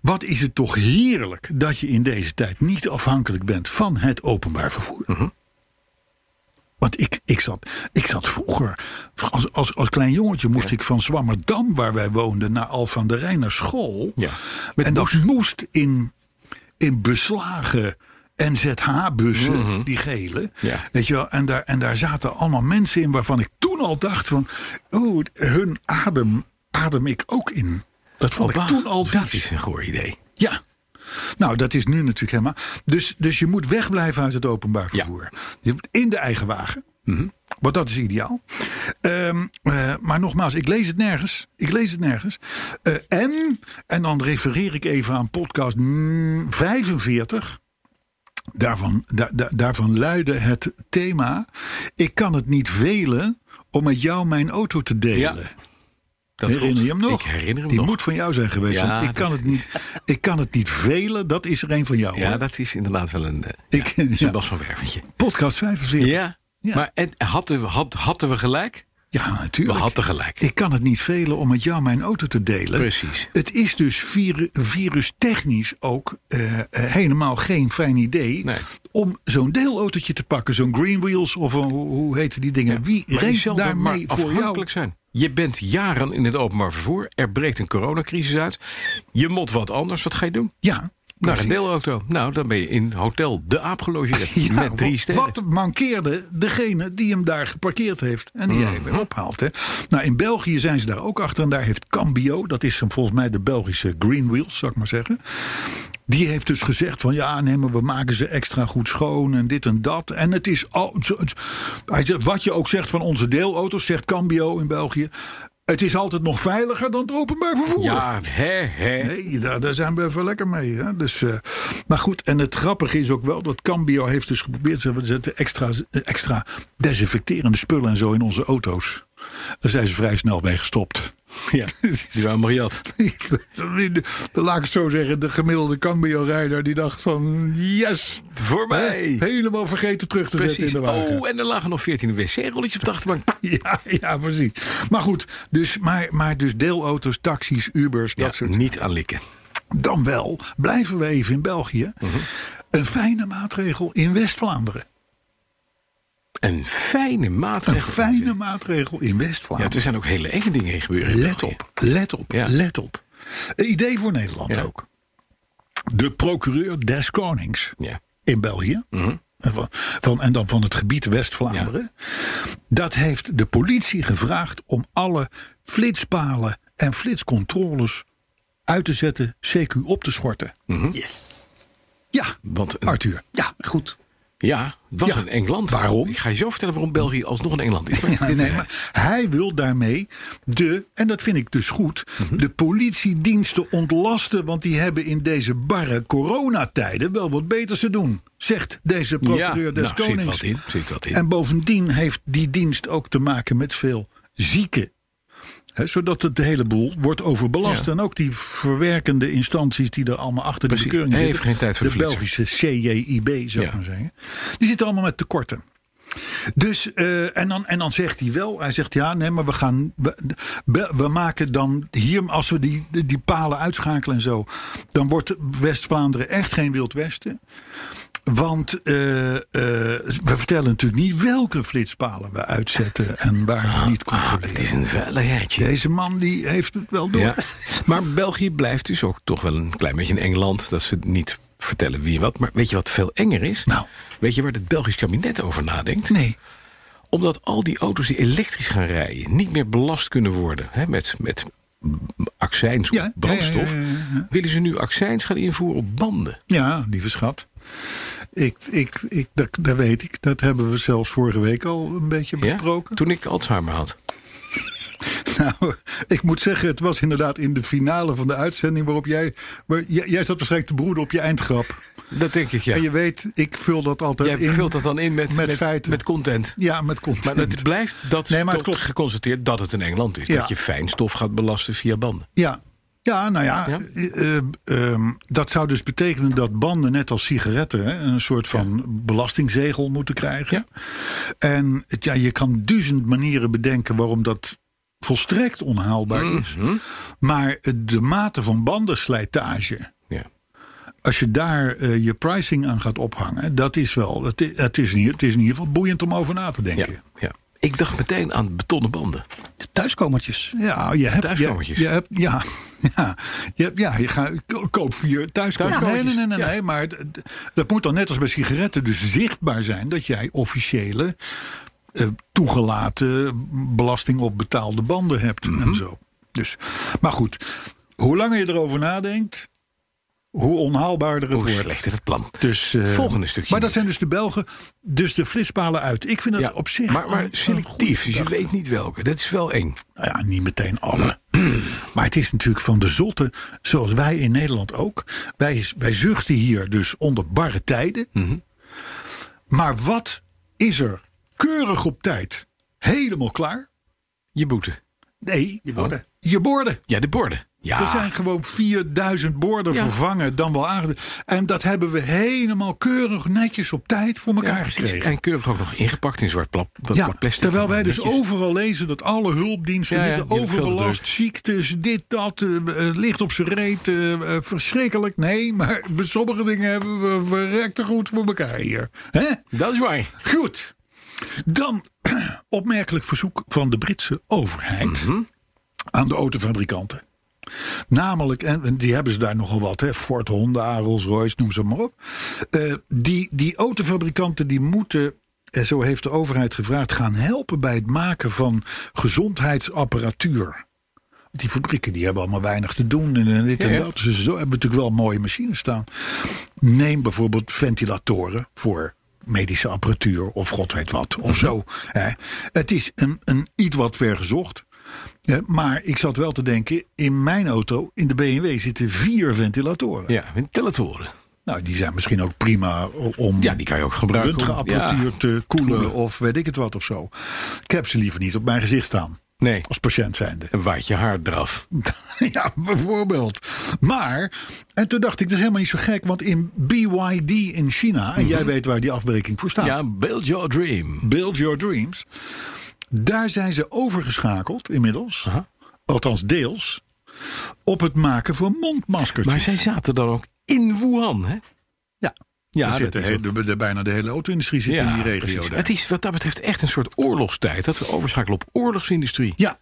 D: wat is het toch heerlijk dat je in deze tijd niet afhankelijk bent van het openbaar vervoer.
C: Mhm.
D: Want ik, ik, zat, ik zat vroeger, als, als, als klein jongetje moest ik van Zwammerdam, waar wij woonden, naar Alphen aan de Rijn naar school.
C: Ja, met
D: en dat moest in, in beslagen NZH-bussen, die gele.
C: Ja.
D: Weet je wel, en daar, en daar zaten allemaal mensen in waarvan ik toen al dacht van, oh, hun adem adem ik ook in. Dat vond ik
C: Bah,
D: toen al
C: dat
D: vies.
C: is een goed idee.
D: Ja. Nou, dat is nu natuurlijk helemaal. Dus, dus je moet wegblijven uit het openbaar
C: Ja. Mhm.
D: vervoer. Je moet In de eigen wagen. Want dat is ideaal. Ehm, eh, maar nogmaals, ik lees het nergens. Ik lees het nergens. Eh, en, en dan refereer ik even aan podcast mm, 45. Daarvan, da- da- daarvan luidde het thema. Ik kan het niet velen om met jou mijn auto te delen.
C: Ja, Dat
D: herinner je hem
C: klopt.
D: nog?
C: Ik herinner hem
D: Die
C: nog.
D: moet van jou zijn geweest.
C: Ja,
D: want ik,
C: dat
D: kan het niet, ik kan het niet velen, dat is er een van jou.
C: Ja,
D: hoor.
C: dat is inderdaad wel een, eh,
D: Ik-
C: ja, zo'n
D: ja.
C: Bas van Wervertje.
D: Podcast 45. Ja,
C: Ja,
D: Ja.
C: maar en, hadden, we, had, hadden we gelijk? We
D: natuurlijk.
C: hadden gelijk.
D: Ik kan het niet velen om met jou mijn auto te delen.
C: Precies.
D: Het is dus viru- virustechnisch ook eh, eh, helemaal geen fijn idee...
C: Nee.
D: om zo'n deelautootje te pakken. Zo'n Green Wheels of een- hoe- hoe heten die dingen. Wie
C: Maar je
D: race
C: zal daar maar
D: daarmee voor jou?
C: afhankelijk zijn. Je bent jaren in het openbaar vervoer. Er breekt een coronacrisis uit. Je moet wat anders. Wat ga je doen?
D: Ja,
C: Naar een deelauto. Nou, dan ben je in Hotel De
D: (laughs)
C: Aap gelogeerd. met drie sterren.
D: Wat mankeerde degene die hem daar geparkeerd heeft en
C: Hmm.
D: die hij weer ophaalt. Hè? Nou, in België zijn ze daar ook achter. En daar heeft Cambio, dat is hem volgens mij de Belgische Green Wheels, zou ik maar zeggen. Die heeft dus gezegd van ja, nee, maar we maken ze extra goed schoon en dit en dat. En het is al. zo- het- Hij zegt, wat je ook zegt van onze deelauto's, zegt Cambio in België. Het is altijd nog veiliger dan het openbaar vervoer.
C: Ja, hè, hè.
D: Nee, daar, daar zijn we even lekker mee. Hè? Dus, eh, maar goed, en het grappige is ook wel dat Cambio heeft dus geprobeerd. Ze zetten extra, extra desinfecterende spullen en zo in onze auto's. Daar zijn ze vrij snel mee gestopt.
C: Ja, die waren Mariat.
D: Dan (laughs) laat ik het zo zeggen, de gemiddelde Cambio-rijder die dacht van yes.
C: Voor mij.
D: Hè? Helemaal vergeten terug te
C: Precies.
D: zetten in de wagen.
C: Oh, en er lagen nog 14 wc-rolletjes op de achterbank.
D: (laughs) Ja, ja, precies. Maar goed, dus, maar, maar dus deelauto's, taxis, Ubers, dat
C: Ja,
D: soort
C: niet aan likken.
D: Dan wel, blijven we even in België.
C: Mhm.
D: Een fijne maatregel in West-Vlaanderen.
C: Een fijne
D: Een
C: maatregel.
D: fijne maatregel in
C: Ja,
D: West-Vlaanderen.
C: er zijn ook hele enge dingen heen gebeurd.
D: Let op, let op,
C: Ja.
D: let op. Een idee voor Nederland
C: Ja.
D: ook. De procureur des Konings
C: Ja. Mhm.
D: in België. En, van, van- en dan van het gebied West-Vlaanderen. Dat heeft de politie gevraagd om alle flitspalen en flitscontroles uit te zetten, CQ op te schorten.
E: Yes.
D: Ja,
C: Mhm. Want een-
D: Arthur.
E: Ja, goed.
C: Ja, wat
D: Ja.
C: een Engeland.
D: Waarom?
C: Ik ga je zo vertellen waarom België alsnog een Engeland (laughs)
D: (laughs)
C: is.
D: Ja, nee, maar hij wil daarmee de, en dat vind ik dus goed,
C: Mhm.
D: de politiediensten ontlasten. Want die hebben in deze barre coronatijden wel wat beters te doen. Zegt deze procureur
C: Ja,
D: des
C: nou, zit
D: Konings.
C: wat in, zit wat in.
D: En bovendien heeft die dienst ook te maken met veel zieken. Hè, zodat het de hele boel wordt overbelast.
C: Ja.
D: En ook die verwerkende instanties die er allemaal achter
C: Precies.
D: de bekeuring
C: Hij
D: zitten.
C: heeft geen tijd voor
D: de,
C: de flitser.
D: Belgische CJIB, zou ik
C: Ja.
D: maar zeggen. Die zitten allemaal met tekorten. Dus, eh, en, dan, en dan zegt hij wel, hij zegt ja, nee, maar we gaan, we, we- we maken dan hier, als we die, die palen uitschakelen en zo, dan wordt West-Vlaanderen echt geen Wild Westen. Want eh, eh, we vertellen natuurlijk niet welke flitspalen we uitzetten en waar we niet
C: Ah, het is
D: controleren.
C: een veiligheidje.
D: Deze man die heeft het wel door.
C: Ja. Maar België blijft dus ook toch wel een klein beetje een Engeland. Dat ze niet vertellen wie en wat. Maar weet je wat veel enger is?
D: (laughs) Nou.
C: Weet je waar het Belgisch kabinet over nadenkt?
D: Nee,
C: Omdat al die auto's die elektrisch gaan rijden... niet meer belast kunnen worden hè, met, met accijns of
D: Ja, ja, ja,
C: brandstof...
D: ja, ja,
C: willen ze nu accijns gaan invoeren op banden.
D: ja, lieve schat. Ik, ik, ik, dat, dat weet ik. Dat hebben we zelfs vorige week al een beetje
C: Ja?
D: besproken.
C: Toen ik Alzheimer had.
D: (laughs) Nou, ik moet zeggen, het was inderdaad in de finale van de uitzending waarop jij. Waar, jij, jij zat waarschijnlijk te broeden op je eindgrap.
C: Dat denk ik, ja.
D: En je weet, ik vul dat altijd
C: Jij
D: in.
C: vult dat dan in met,
D: met feiten.
C: met content.
D: Ja, met content.
C: Maar het blijft dat
D: Nee, maar het
C: toch
D: klopt.
C: geconstateerd dat het in Engeland is.
D: Ja.
C: Dat je fijnstof gaat belasten via banden.
D: Ja. Ja, nou ja,
C: Ja?
D: eh, eh, ehm, dat zou dus betekenen dat banden, net als sigaretten, hè, een soort van belastingzegel moeten krijgen. En het- ja, je kan duizend manieren bedenken waarom dat volstrekt onhaalbaar is.
C: Mhm.
D: Maar eh, de mate van bandenslijtage,
C: Ja.
D: als je daar eh, je pricing aan gaat ophangen, dat is wel, het is, het, is in, ieder- het is in ieder geval boeiend om over na te
C: Ja.
D: denken.
C: ja. Ik dacht meteen aan betonnen banden.
E: De thuiskomertjes.
D: Ja, je hebt, je,
C: Thuiskamertjes.
D: je hebt ja, (laughs) ja, je hebt, ja, je gaat ko- koop vier thuiskamertjes. Nee,
C: Thuiskamertjes,
D: nee, nee, nee,
C: ja.
D: nee, maar d- d- dat moet dan net als bij sigaretten dus zichtbaar zijn dat jij officiële eh, toegelaten belasting op betaalde banden hebt
C: Mhm.
D: en zo. Dus, maar goed, hoe langer je erover nadenkt, hoe onhaalbaarder het
C: Hoe
D: wordt.
C: slechter het plan.
D: Dus, eh,
C: Volgende stukje.
D: Maar dat zijn dus de Belgen, dus de flitspalen uit. Ik vind dat
C: ja.
D: op zich.
C: maar,
D: een-
C: maar
D: een goede
C: selectief. Dus je
D: gedachte.
C: weet niet welke. Dat is wel eng.
D: Nou ja, niet meteen alle. Maar het is natuurlijk van de zotte, zoals wij in Nederland ook. Wij, wij zuchten hier dus onder barre tijden.
C: Mhm.
D: Maar wat is er keurig op tijd helemaal klaar?
C: Je boete.
D: Nee, je
C: borden.
D: Je borden.
C: Ja, de borden. Ja.
D: Er zijn gewoon 4000 borden vervangen, dan wel aangedaan. En dat hebben we helemaal keurig netjes op tijd voor
C: Ja,
D: elkaar
C: precies.
D: gekregen.
C: en keurig ook nog ingepakt in zwart plap, dat
D: Ja,
C: plak plastic.
D: terwijl wij dus
C: Netjes.
D: overal lezen dat alle hulpdiensten
C: Ja, ja,
D: dit,
C: die hebben veel te
D: overbelast,
C: druk.
D: ziektes, dit, dat, eh, eh, licht op zijn reet, eh, eh, verschrikkelijk. Nee, maar bij sommige dingen hebben we verrekte goed voor elkaar hier. Hè?
C: Dat is waar.
D: Goed. Dan (clears throat)
C: Mhm.
D: opmerkelijk verzoek van de Britse overheid aan de autofabrikanten. Namelijk, en die hebben ze daar nogal wat, hè, Ford, Honda, Rolls-Royce, noem ze maar op. Eh, die, die autofabrikanten die moeten, en zo heeft de overheid gevraagd, gaan helpen bij het maken van gezondheidsapparatuur. Die fabrieken die hebben allemaal weinig te doen en dit en
C: Ja, ja.
D: dat. Dus zo hebben we natuurlijk wel mooie machines staan. Neem bijvoorbeeld ventilatoren voor medische apparatuur of god weet wat of
C: Mhm.
D: zo. Hè. Het is een, een iets wat vergezocht. Hè, Maar ik zat wel te denken, in mijn auto, in de BMW, zitten vier ventilatoren.
C: Ja, ventilatoren.
D: Nou, die zijn misschien ook prima om
C: Ja, die kan je ook gebruiken. om-
D: röntgenapparatuur
C: Ja.
D: te koelen, of weet ik het wat of zo. Ik heb ze liever niet op mijn gezicht staan,
C: Nee,
D: als patiënt zijnde.
C: dan waait je haar eraf.
D: (laughs) ja, bijvoorbeeld. Maar, en toen dacht ik, dat is helemaal niet zo gek, want in BYD in China, en jij weet waar die afbreking voor staat.
C: Mhm. Ja, build your dream.
D: Build Your Dreams. Daar zijn ze overgeschakeld inmiddels. Althans deels. Op het maken van mondmaskertjes.
C: Maar zij zaten dan ook in Wuhan, hè?
D: ja,
C: Ja,
D: daar zit
C: dat
D: de
C: is
D: hele-
C: ook-
D: de- de- bijna de hele auto-industrie zit in die regio.
C: precies.
D: daar.
C: Het is wat dat betreft echt een soort oorlogstijd. Dat we overschakelen op oorlogsindustrie.
D: Ja.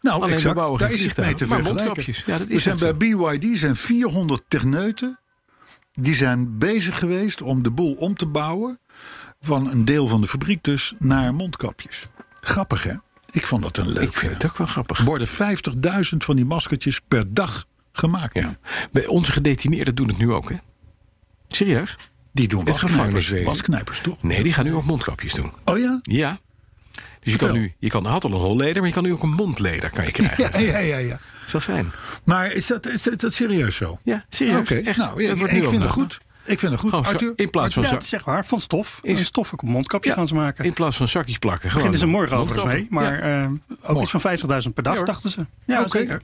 D: Nou,
C: Alleen we
D: exact.
C: bouwen
D: daar
C: geen
D: is het mee
C: vliegtuigen,
D: te
C: maar
D: vergelijken.
C: mondkapjes. Ja, dat
D: er
C: is
D: zijn
C: echt
D: bij BYD zijn 400 techneuten. Die zijn bezig geweest om de boel om te bouwen. Van een deel van de fabriek dus naar mondkapjes. Grappig hè? Ik vond dat een leuk.
C: Ik vind het ook wel grappig.
D: Er worden 50.000 van die maskertjes per dag gemaakt.
C: Ja. Bij onze gedetineerden doen het nu ook, hè? Serieus?
D: Die doen
C: Het
D: wasknijpers,
C: gevangeniswezen.
D: wasknijpers toch?
C: Nee, die gaan nu ook mondkapjes doen.
D: Oh ja?
C: Ja. Dus je
D: Vertel.
C: kan nu, je kan, had al een holleder, maar je kan nu ook een mondleder
A: (laughs)
C: kan je krijgen.
D: Ja, ja, ja, ja.
C: Dat is wel fijn.
D: Maar is dat, is dat, is dat serieus zo?
C: Ja, serieus.
D: Oké,
C: Echt.
D: nou, ja,
C: Dat
D: ik,
C: wordt nu
D: ik vind het
C: overnagedacht.
D: goed. Ik vind het goed.
C: Gewoon zo-
D: Arthur,
C: in plaats van
E: Ja,
C: zo-
E: dat is echt waar. Van stof.
C: Is-
E: Een stof ook een mondkapje
C: Ja,
E: gaan ze maken.
C: In plaats van zakjes plakken. Gewoon
E: Beginnen ze morgen overigens
C: mondkappen.
E: mee. Maar
C: Ja.
E: eh, ook iets van 50.000 per dag,
C: Ja, hoor.
E: dachten ze. Ja,
D: Oké.
E: zeker.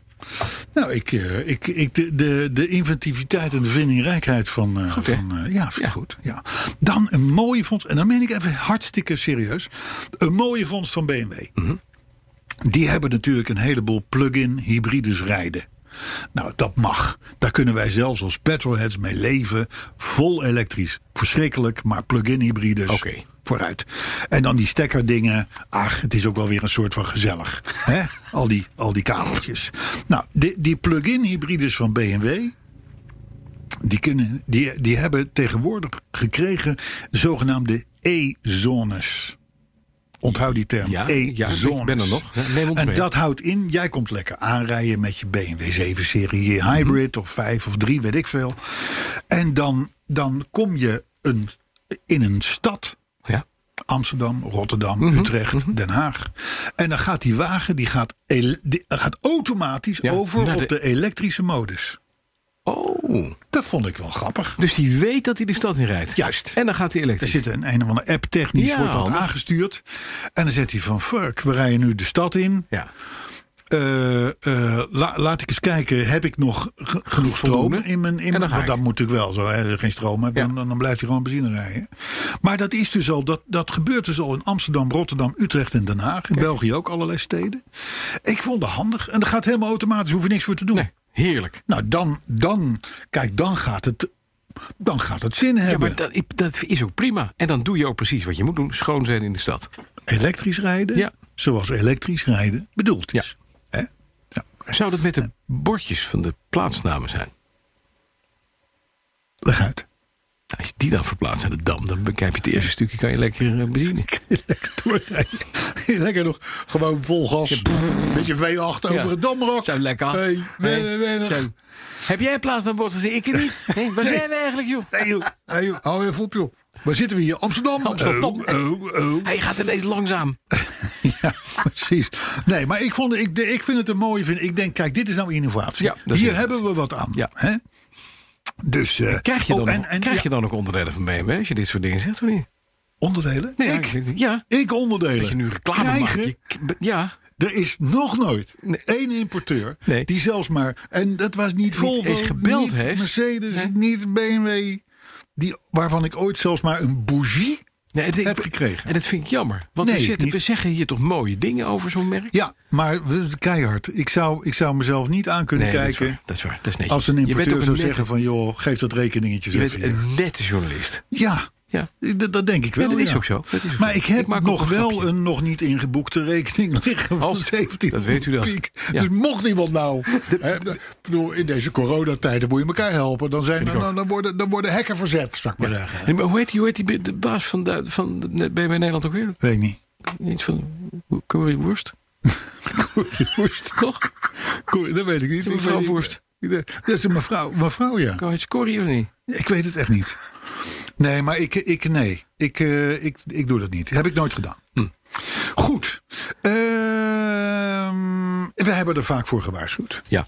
D: Nou, ik, eh, ik, ik, de, de, de inventiviteit en de vindingrijkheid van. eh,
C: hè?
D: van eh, ja, vind ik
C: Ja.
D: goed. Ja. Dan een mooie vondst. En dan meen ik even hartstikke serieus. Een mooie vondst van BMW. Die hebben natuurlijk een heleboel plug-in hybrides rijden. Nou, dat mag. Daar kunnen wij zelfs als petrolheads mee leven. Vol elektrisch. Verschrikkelijk, maar plug-in hybrides.
C: Oké.
D: Vooruit. En dan die stekkerdingen. Ach, het is ook wel weer een soort van gezellig. Hè? Al, die, al die kabeltjes. Nou, die, die plug-in hybrides van BMW. Die, kunnen, die, die hebben tegenwoordig gekregen zogenaamde E-zones. Onthoud die term.
C: Ja,
D: E-zones.
C: ja, ik ben er nog. Ja, neem ons
D: en
C: mee.
D: dat houdt in, jij komt lekker aanrijden met je BMW 7-serie je Hybrid of 5 of 3, weet ik veel. En dan, dan kom je een, in een stad
C: Ja. Mhm,
D: Amsterdam, Rotterdam, Utrecht, Den Haag. En dan gaat die wagen die gaat, ele- die gaat automatisch
C: Ja,
D: over
C: naar
D: op
C: de-
D: de elektrische modus.
C: Oh,
D: Dat vond ik wel grappig.
C: dus die weet dat hij de stad in rijdt.
D: Juist.
C: En dan gaat hij
D: Er
C: elektrisch.
D: zit een, een of andere app technisch,
C: Ja,
D: wordt dat
C: handig.
D: aangestuurd. En dan zegt hij van, fuck, we rijden nu de stad in.
C: Ja.
D: Eh, eh, la- laat ik eens kijken, heb ik nog ge- genoeg stroom
C: Voldoende?
D: in mijn... In
C: En dan
D: mijn
C: ga
D: want
C: ik.
D: dat moet ik wel, zo, hè, geen stroom heb,
C: Ja.
D: dan, dan blijft hij gewoon benzine rijden. Maar dat, is dus al, dat, dat gebeurt dus al in Amsterdam, Rotterdam, Utrecht en Den Haag. In België ook allerlei steden. Ik vond het handig. En dat gaat helemaal automatisch, hoef je niks voor te doen.
C: Nee, heerlijk.
D: Nou, dan, dan, kijk, dan gaat het, dan gaat het zin
C: Ja,
D: hebben.
C: maar dat, dat is ook prima. En dan doe je ook precies wat je moet doen. Schoon zijn in de stad.
D: elektrisch rijden,
C: Ja.
D: zoals elektrisch rijden bedoeld is. Hè? Nou, Ja.
C: Zou dat met de bordjes van de plaatsnamen zijn?
D: Leg uit. (laughs)
C: Nou, Als die dan verplaatst naar de Dam, dan bekijk je het eerste stukje, kan je lekker eh, benzine.
D: Lekker doorrijden. (laughs) Lekker nog gewoon vol gas. Beetje V8 over het damrok.
C: Zo lekker.
D: Hey,
C: Hey,
D: weinig, weinig.
C: zo. Heb jij een plaats naar bord gezien? Ik niet. Hé, waar zijn we eigenlijk, joh?
D: Hey, joh. Hey, joh. Hou even op, joh. Waar zitten we hier? Amsterdam.
C: Amsterdam.
D: Oh, (laughs) oh, oh.
C: Hij gaat ineens langzaam.
D: Ja, precies. Nee, maar ik, vond, ik, ik vind het een mooie vind. Ik denk, kijk, dit is nou innovatie.
C: Ja, dat is
D: hier
C: innovatie.
D: hebben we wat aan.
C: Ja.
D: Hè? Dus, eh,
C: Krijg je dan,
D: oh, en-
C: nog,
D: en-
C: krijg
D: ja,
C: je dan ook onderdelen van BMW als je dit soort dingen zegt, of niet?
D: onderdelen?
C: Nee,
D: ik,
C: ja, ik- ja.
D: ik onderdelen.
C: Dat je nu reclame
D: Krijgen?
C: maakt. Je- ja,
D: Er is nog nooit één importeur
C: Nee.
D: die zelfs maar... En dat was niet Volvo,
C: eens gebeld
D: niet
C: heeft.
D: Mercedes, niet BMW. Die, waarvan ik ooit zelfs maar een bougie...
C: nee, het- ik-
D: Heb gekregen.
C: En dat vind ik jammer. Want
D: Nee,
C: we,
D: ik
C: zetten- we
D: niet.
C: zeggen hier toch mooie dingen over zo'n merk?
D: Ja, maar we- keihard. Ik zou, ik zou mezelf niet aan kunnen
C: nee, dat is,
D: kijken...
C: waar, dat is waar. Dat is netjes.
D: als een
C: Je bent ook
D: importeur zou
C: nette-
D: zeggen van... joh, geef dat rekeningetje
C: Je
D: eens
C: bent
D: even hier.
C: een nette journalist.
D: Ja,
C: Ja.
G: Dat, dat denk ik wel.
C: Ja, dat is
G: ja.
C: ook zo. Dat is ook
G: maar
C: zo.
G: ik heb
C: Ik maak ook
G: nog
C: een
G: wel
C: grapje.
G: een nog niet ingeboekte rekening liggen van
C: Oh,
G: 17
C: dat weet u dan.
G: piek.
C: Ja.
D: Dus mocht iemand
C: (laughs)
D: nou, hè, de- ik bedoel, in deze coronatijden moet je elkaar helpen. Dan, zijn,
C: ik ook.
D: dan, dan, worden, dan worden hekken verzet, zou ik maar zeggen.
C: Nee, maar hoe heet die, hoe heet die be- de baas van, de- van de net- BB Nederland ook weer?
G: Weet ik niet.
C: Iets van Curry Worst?
D: Woest.
C: Toch?
D: Koe- Dat weet ik niet.
C: Is een
D: Ik
C: mevrouw
D: weet niet-
C: Woest.
D: Dat is een mevrouw, mevrouw, ja.
C: Heet je Corrie of niet?
D: Ik weet het echt niet. Nee, maar ik, ik nee. Ik, eh, ik, ik doe dat niet. Heb ik nooit gedaan.
C: Hm.
D: Goed. Ehm, we hebben er vaak voor gewaarschuwd.
C: Ja.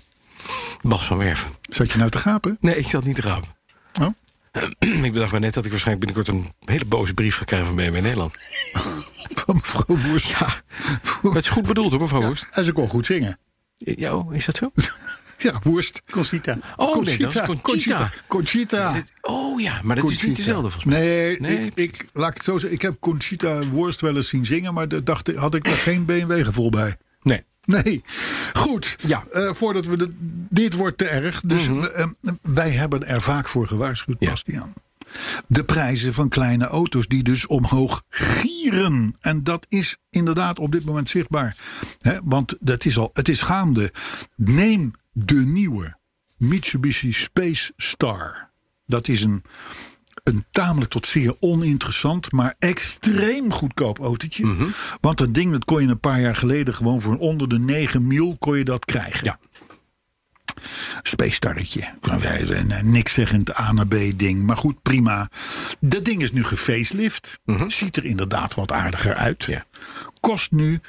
C: Bas van Werven.
D: Zat je nou te gapen?
C: Nee, ik zat niet te rapen.
D: Oh.
C: ik bedacht maar net dat ik waarschijnlijk binnenkort een hele boze brief ga krijgen van BNW Nederland.
D: Van mevrouw Boers.
C: Ja, dat is goed bedoeld hoor, mevrouw Worst.
D: En ze kon goed zingen.
C: Ja, oh, is dat zo?
D: (laughs) Ja, worst.
H: Conchita.
C: Oh, nee, dat is Conchita.
D: Conchita. Conchita.
C: Oh ja, maar dat is niet
D: Conchita.
C: dezelfde volgens mij.
D: Nee,
C: Nee.
D: Ik, ik, laat ik het zo zeggen. Ik heb Conchita Worst wel eens zien zingen, maar dat dacht, ik- had ik daar geen BMW-gevoel bij.
C: Nee.
D: Nee. Goed.
C: Ja. Mhm.
D: Eh, voordat we de, dit wordt te erg. Dus eh, wij hebben er vaak voor gewaarschuwd,
C: Ja.
D: Bastiaan. De prijzen van kleine auto's die dus omhoog gieren. En dat is inderdaad op dit moment zichtbaar. Hè, want dat is al, het is gaande. Neem de nieuwe Mitsubishi Space Star. Dat is een een tamelijk tot zeer oninteressant, maar extreem goedkoop autootje.
C: Mhm.
D: Want dat ding dat kon je een paar jaar geleden gewoon voor onder de 9 mil kon je dat krijgen. Ja. Speestarretje. eh, Niks zeggend A naar B ding. Maar goed, prima. Dat ding is nu gefacelift. Ziet er inderdaad wat aardiger uit.
C: Mhm. Ja.
D: Kost nu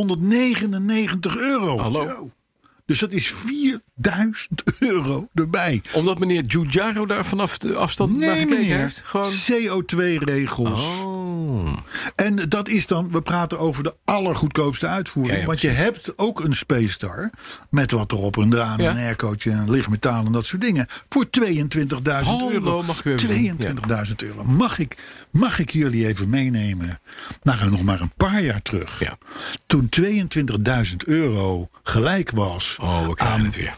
D: 12.999 euro.
C: Hallo.
D: Zo. Dus dat is 4000 euro erbij.
C: Omdat meneer Giugiaro daar vanaf de afstand naar
D: Nee,
C: gekeken
D: meneer.
C: heeft. Gewoon...
D: CO2-regels.
C: Oh.
D: En dat is dan, we praten over de allergoedkoopste uitvoering.
C: Ja, ja,
D: want je hebt ook een Space Star. Met wat erop, een draan,
C: Ja.
D: een aircootje, een lichtmetaal en dat soort dingen. Voor 22.000
C: Hallo,
D: euro.
C: mag ik u even doen?
D: 22.000 euro. Mag ik, mag ik jullie even meenemen naar nog maar een paar jaar terug?
C: Ja.
D: Toen 22.000 euro gelijk was
C: Oh, we krijgen
D: aan
C: het weer.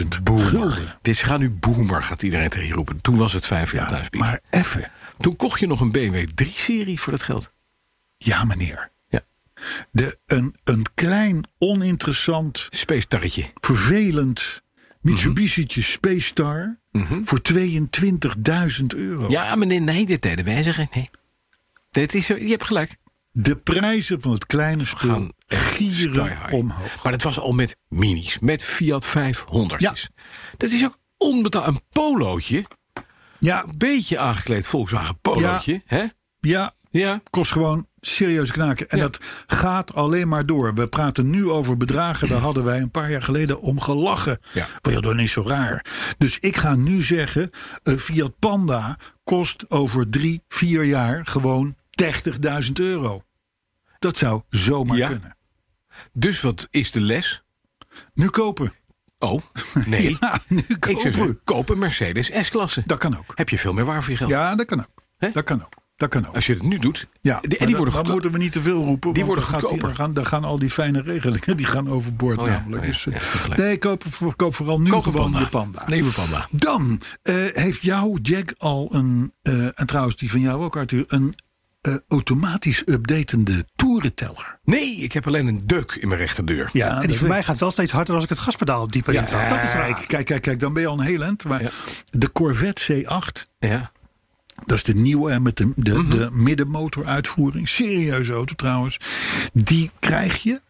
D: 45.000 gulden.
C: Dit gaat nu boomer, gaat iedereen tegen je roepen. Toen was het vijf jaar
D: Ja,
C: thuis.
D: maar even.
C: Toen kocht je nog een BMW 3-serie voor dat geld.
D: Ja, meneer.
C: Ja.
D: De, een, een klein, oninteressant,
C: Space tarretje.
D: vervelend Mitsubishi'tje
C: Mhm.
D: Space Star voor 22.000 euro.
C: Ja, meneer, nee, dit deden wij zeggen. Nee. Dit is zo, je hebt gelijk.
D: De prijzen van het kleine spul
C: Gaan echt sky
D: gieren
C: high.
D: omhoog.
C: Maar dat was al met minis, met Fiat 500.
D: Ja.
C: Dat is ook onbetaald. Een polootje,
D: Ja,
C: een beetje aangekleed Volkswagen polootje. Hè?
D: ja,
C: Ja.
D: kost gewoon serieus knaken. En
C: Ja.
D: dat gaat alleen maar door. We praten nu over bedragen. Daar hadden wij een paar jaar geleden om gelachen.
C: Ja.
D: Wil je dat niet zo raar? Dus ik ga nu zeggen: een Fiat Panda kost over drie, vier jaar gewoon 30.000 euro. Dat zou zomaar
C: Ja.
D: kunnen.
C: Dus wat is de les?
D: Nu kopen. (laughs)
C: Oh, nee.
D: Ja, nu
C: Ik zou
D: kopen.
C: zeggen, koop een Mercedes S-klasse.
D: Dat kan ook.
C: Heb je veel meer waar voor je geld.
D: Ja, dat kan ook.
C: Hè?
D: Dat kan ook. Dat kan ook.
C: Als je het nu doet.
D: Ja, maar
C: die- en die
D: dan-
C: worden
D: dan
C: goedkoop.
D: moeten we niet te veel roepen.
C: Die
D: want
C: worden
D: dan gaat
C: goedkoper.
D: dan, gaan, dan gaan al die fijne regelingen die gaan overboord
C: Oh ja,
D: namelijk.
C: oh ja,
D: Dus,
C: ja,
D: eh,
C: dat is gelijk.
D: nee, koop, koop vooral nu
C: Koop een
D: gewoon
C: panda.
D: de panda.
C: Neem een panda.
D: Dan eh, heeft jouw Jack al een, eh, en trouwens die van jou ook Arthur, een eh, automatisch updatende toerenteller.
C: Nee, ik heb alleen een deuk in mijn rechterdeur.
D: Ja,
H: En die voor mij gaat wel steeds harder als ik het gaspedaal dieper
C: Ja.
H: intrap. Dat is
D: Kijk,
H: rijk.
D: kijk, kijk, kijk, dan ben je al een heel eind. Maar
C: Ja.
D: de Corvette C8,
C: Ja.
D: Dat is de nieuwe hè, met de, de,
H: Mhm.
D: de middenmotoruitvoering. Serieuze auto trouwens. Die krijg je.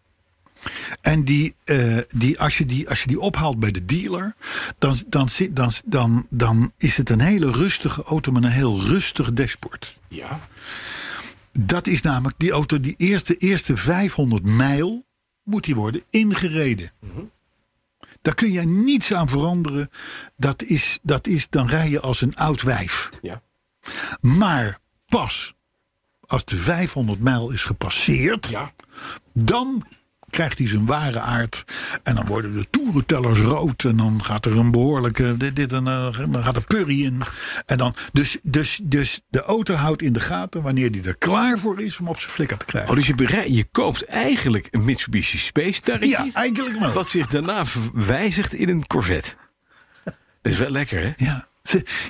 D: En die, eh, die, als, je die, als je die ophaalt bij de dealer, dan, dan, zit- dan, dan, dan is het een hele rustige auto met een heel rustig dashboard.
C: Ja.
D: Dat is namelijk die auto, die eerste, eerste 500 mijl moet die worden ingereden. Daar kun jij niets aan veranderen. Dat is, dat is, dan rij je als een oud wijf.
C: Ja.
D: Maar pas als de 500 mijl is gepasseerd, dan krijgt hij zijn ware aard. En dan worden de toerentellers rood. En dan gaat er een behoorlijke. Dit, dit en eh, dan gaat er purrie in. En dan, dus, dus, dus de auto houdt in de gaten wanneer die er klaar voor is om op zijn flikker te krijgen.
C: Oh, dus je, berei- je koopt eigenlijk een Mitsubishi Space Tarretje.
D: ja, eigenlijk wel.
C: Dat zich daarna verwijzigt in een Corvette. Dat is wel lekker, hè?
D: Ja.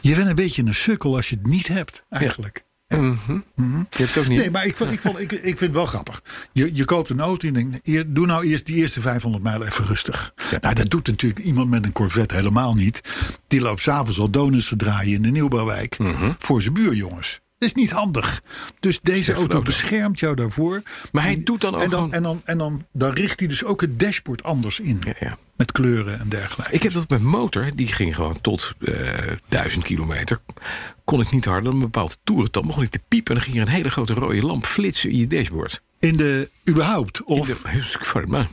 D: Je bent een beetje een sukkel als je het niet hebt, eigenlijk.
C: Ja. Mm-hmm. Mm-hmm. Je hebt het ook niet.
D: Nee, maar ik, vond, ik, vond, ik, ik vind het wel grappig. Je, je koopt een auto en denkt, hier, doe nou eerst die eerste 500 mijl even rustig. Ja. Nou, dat doet natuurlijk iemand met een Corvette helemaal niet. Die loopt s'avonds al donuts te draaien in de Nieuwbouwwijk.
C: Mhm.
D: Mm-hmm. Voor zijn buurjongens. Dat is niet handig. Dus deze Zegt auto beschermt jou daarvoor.
C: Maar hij doet dan ook
D: en dan, en dan, en dan, dan richt hij dus ook het dashboard anders in.
C: Ja, ja.
D: Met kleuren en dergelijke.
C: Ik heb dat met motor. Die ging gewoon tot duizend uh, kilometer. Kon ik niet harder dan een bepaald toerental. Mocht ik te piepen en dan ging er een hele grote rode lamp flitsen in je dashboard.
D: In de, überhaupt? Of,
C: de,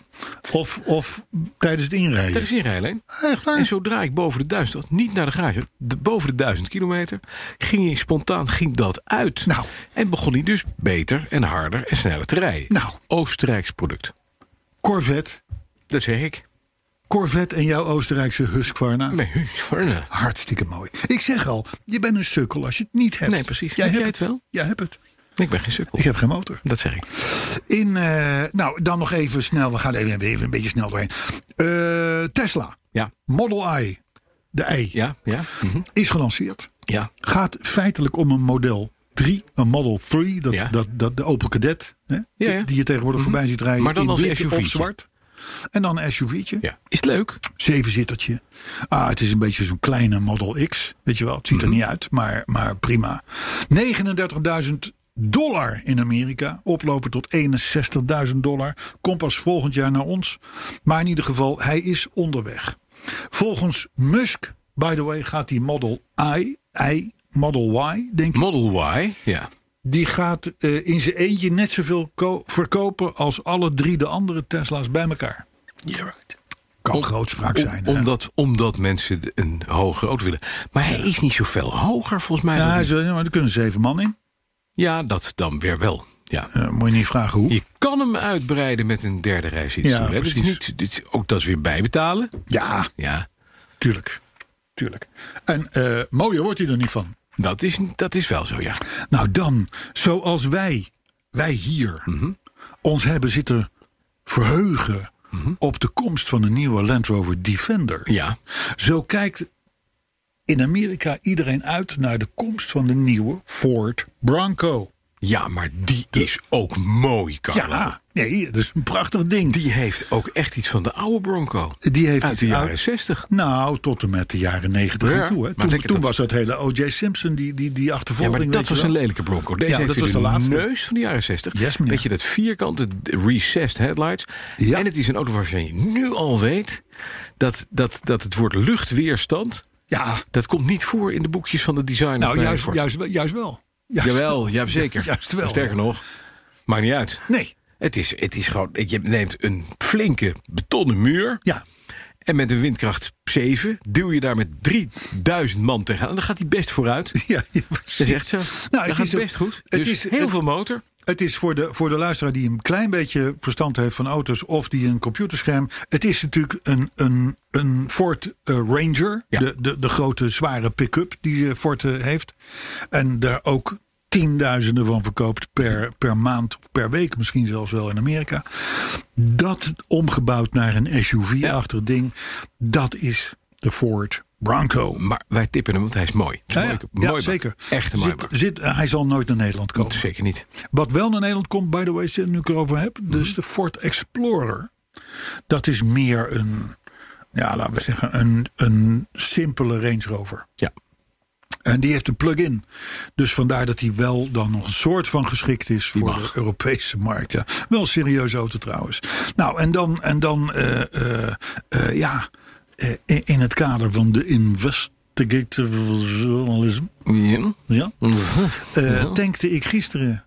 D: of, of tijdens het inrijden?
C: Tijdens het inrijden Echt waar? En zodra ik boven de duizend, niet naar de garage, de, boven de duizend kilometer, ging hij spontaan ging dat uit.
D: Nou.
C: En begon hij dus beter en harder en sneller te rijden.
D: Nou.
C: Oostenrijks product.
D: Corvette.
C: Dat zeg ik.
D: Corvette en jouw Oostenrijkse Husqvarna.
C: Nee, Husqvarna.
D: Hartstikke mooi. Ik zeg al, je bent een sukkel als je het niet hebt.
C: Nee, precies.
D: Jij
C: heb
D: hebt
C: jij het wel?
D: Jij hebt het.
C: Ik ben geen sukkel.
D: Ik heb geen motor.
C: Dat zeg ik.
D: In, uh, nou, dan nog even snel. We gaan even, even een beetje snel doorheen. Uh, Tesla.
C: Ja.
D: Model I. De I.
C: Ja, ja. Mm-hmm.
D: Is gelanceerd.
C: Ja.
D: Gaat feitelijk om een model 3. Een Model 3. Dat, ja. dat, dat, de Opel Cadet. Hè,
C: ja, ja.
D: Die je tegenwoordig mm-hmm. voorbij ziet rijden.
C: Maar dan
D: in
C: als
D: wit
C: SUV-tje.
D: of zwart. En dan een SUV'tje.
C: Ja. Is het leuk?
D: Zevenzittertje. Ah, het is een beetje zo'n kleine Model X. Weet je wel, het ziet
C: Mhm.
D: mm-hmm. er niet uit, maar, maar prima. 39.000 dollar in Amerika. Oplopen tot 61.000 dollar. Komt pas volgend jaar naar ons. Maar in ieder geval, hij is onderweg. Volgens Musk, by the way, gaat die Model I, I Model Y, denk ik.
C: Model Y, ja.
D: Die gaat uh, in zijn eentje net zoveel ko- verkopen als alle drie de andere Tesla's bij elkaar.
C: Yeah, right.
D: Kan om, grootspraak
C: om,
D: zijn.
C: Omdat, omdat mensen een hogere auto willen. Maar hij is niet zoveel hoger volgens mij.
D: Ja, zo, maar er kunnen zeven man in.
C: Ja, dat dan weer wel. Ja.
D: Uh, moet je niet vragen hoe.
C: Je kan hem uitbreiden met een derde rijsitstoel.
D: Ja, precies.
C: Dit is niet, dit is ook dat is weer bijbetalen.
D: Ja,
C: ja.
D: tuurlijk. tuurlijk. En uh, mooier wordt hij er niet van.
C: Dat is, dat is wel zo, ja.
D: Nou dan, zoals wij, wij hier,
C: Mhm.
D: mm-hmm. ons hebben zitten verheugen... Mm-hmm. op de komst van een nieuwe Land Rover Defender.
C: Mhm. Ja.
D: Zo kijkt in Amerika iedereen uit naar de komst van de nieuwe Ford Bronco.
C: Ja, maar die de... is ook mooi, Carla.
D: Ja, nee, dat is een prachtig ding.
C: Die heeft ook echt iets van de oude Bronco.
D: Die heeft
C: Uit de jaren oude... 60.
D: Nou, tot en met de jaren 90 ja, toe. Hè. Toen, toen
C: dat...
D: was dat hele O.J. Simpson, die, die, die achtervolging.
C: Ja, maar dat was een lelijke Bronco. Deze
D: ja,
C: heeft
D: dat was de laatste.
C: neus van de jaren 60.
D: Yes,
C: Weet je, dat vierkante recessed headlights.
D: Ja.
C: En het is een auto waarvan je nu al weet... dat, dat, dat het woord luchtweerstand...
D: Ja.
C: Dat komt niet voor in de boekjes van de designer.
D: Nou, juist, juist, juist wel. Juist
C: Jawel, ja, zeker.
D: Ja, (laughs) juist wel.
C: Sterker nog, maakt niet uit.
D: Nee.
C: Het is, het is gewoon, je neemt een flinke betonnen muur.
D: Ja. (laughs)
C: En met een windkracht 7 duw je daar met 3000 man tegenaan. En dan gaat hij best vooruit.
D: Ja, ja
C: precies. dat is echt zo. Nou, dan het gaat is best goed.
D: Het
C: dus
D: is,
C: heel
D: het,
C: veel motor.
D: Het is voor de, voor de luisteraar die een klein beetje verstand heeft van auto's of die een computerscherm. Het is natuurlijk een, een, een Ford eh, Ranger.
C: Ja.
D: De, de, de grote zware pick-up die eh, Ford heeft. En daar ook tienduizenden van verkoopt per, per maand, per week misschien zelfs wel in Amerika. Dat omgebouwd naar een SUV-achtig ja. ding, dat is de Ford Bronco.
C: Maar wij tippen hem, want hij is mooi.
D: Ja, ja.
C: Mooi-
D: Ja,
C: mooi-
D: zeker.
C: Echt een mooi.
D: Zit, zit, eh, hij zal nooit naar Nederland komen.
C: Zeker niet.
D: Wat wel naar Nederland komt, by the way, nu ik erover heb,
C: Mhm.
D: dus de Ford Explorer. Dat is meer een, ja, laten we zeggen, een, een simpele Range Rover.
C: Ja.
D: En die heeft een plug-in. Dus vandaar dat hij wel dan nog een soort van geschikt is
C: Die
D: voor
C: mag.
D: de Europese markt. Ja. Wel een serieuze auto trouwens. Nou, en dan, en dan eh, eh, eh, ja, eh, in, in het kader van de investigative journalism.
C: Ja.
D: Ja, eh,
C: Ja.
D: tankte ik gisteren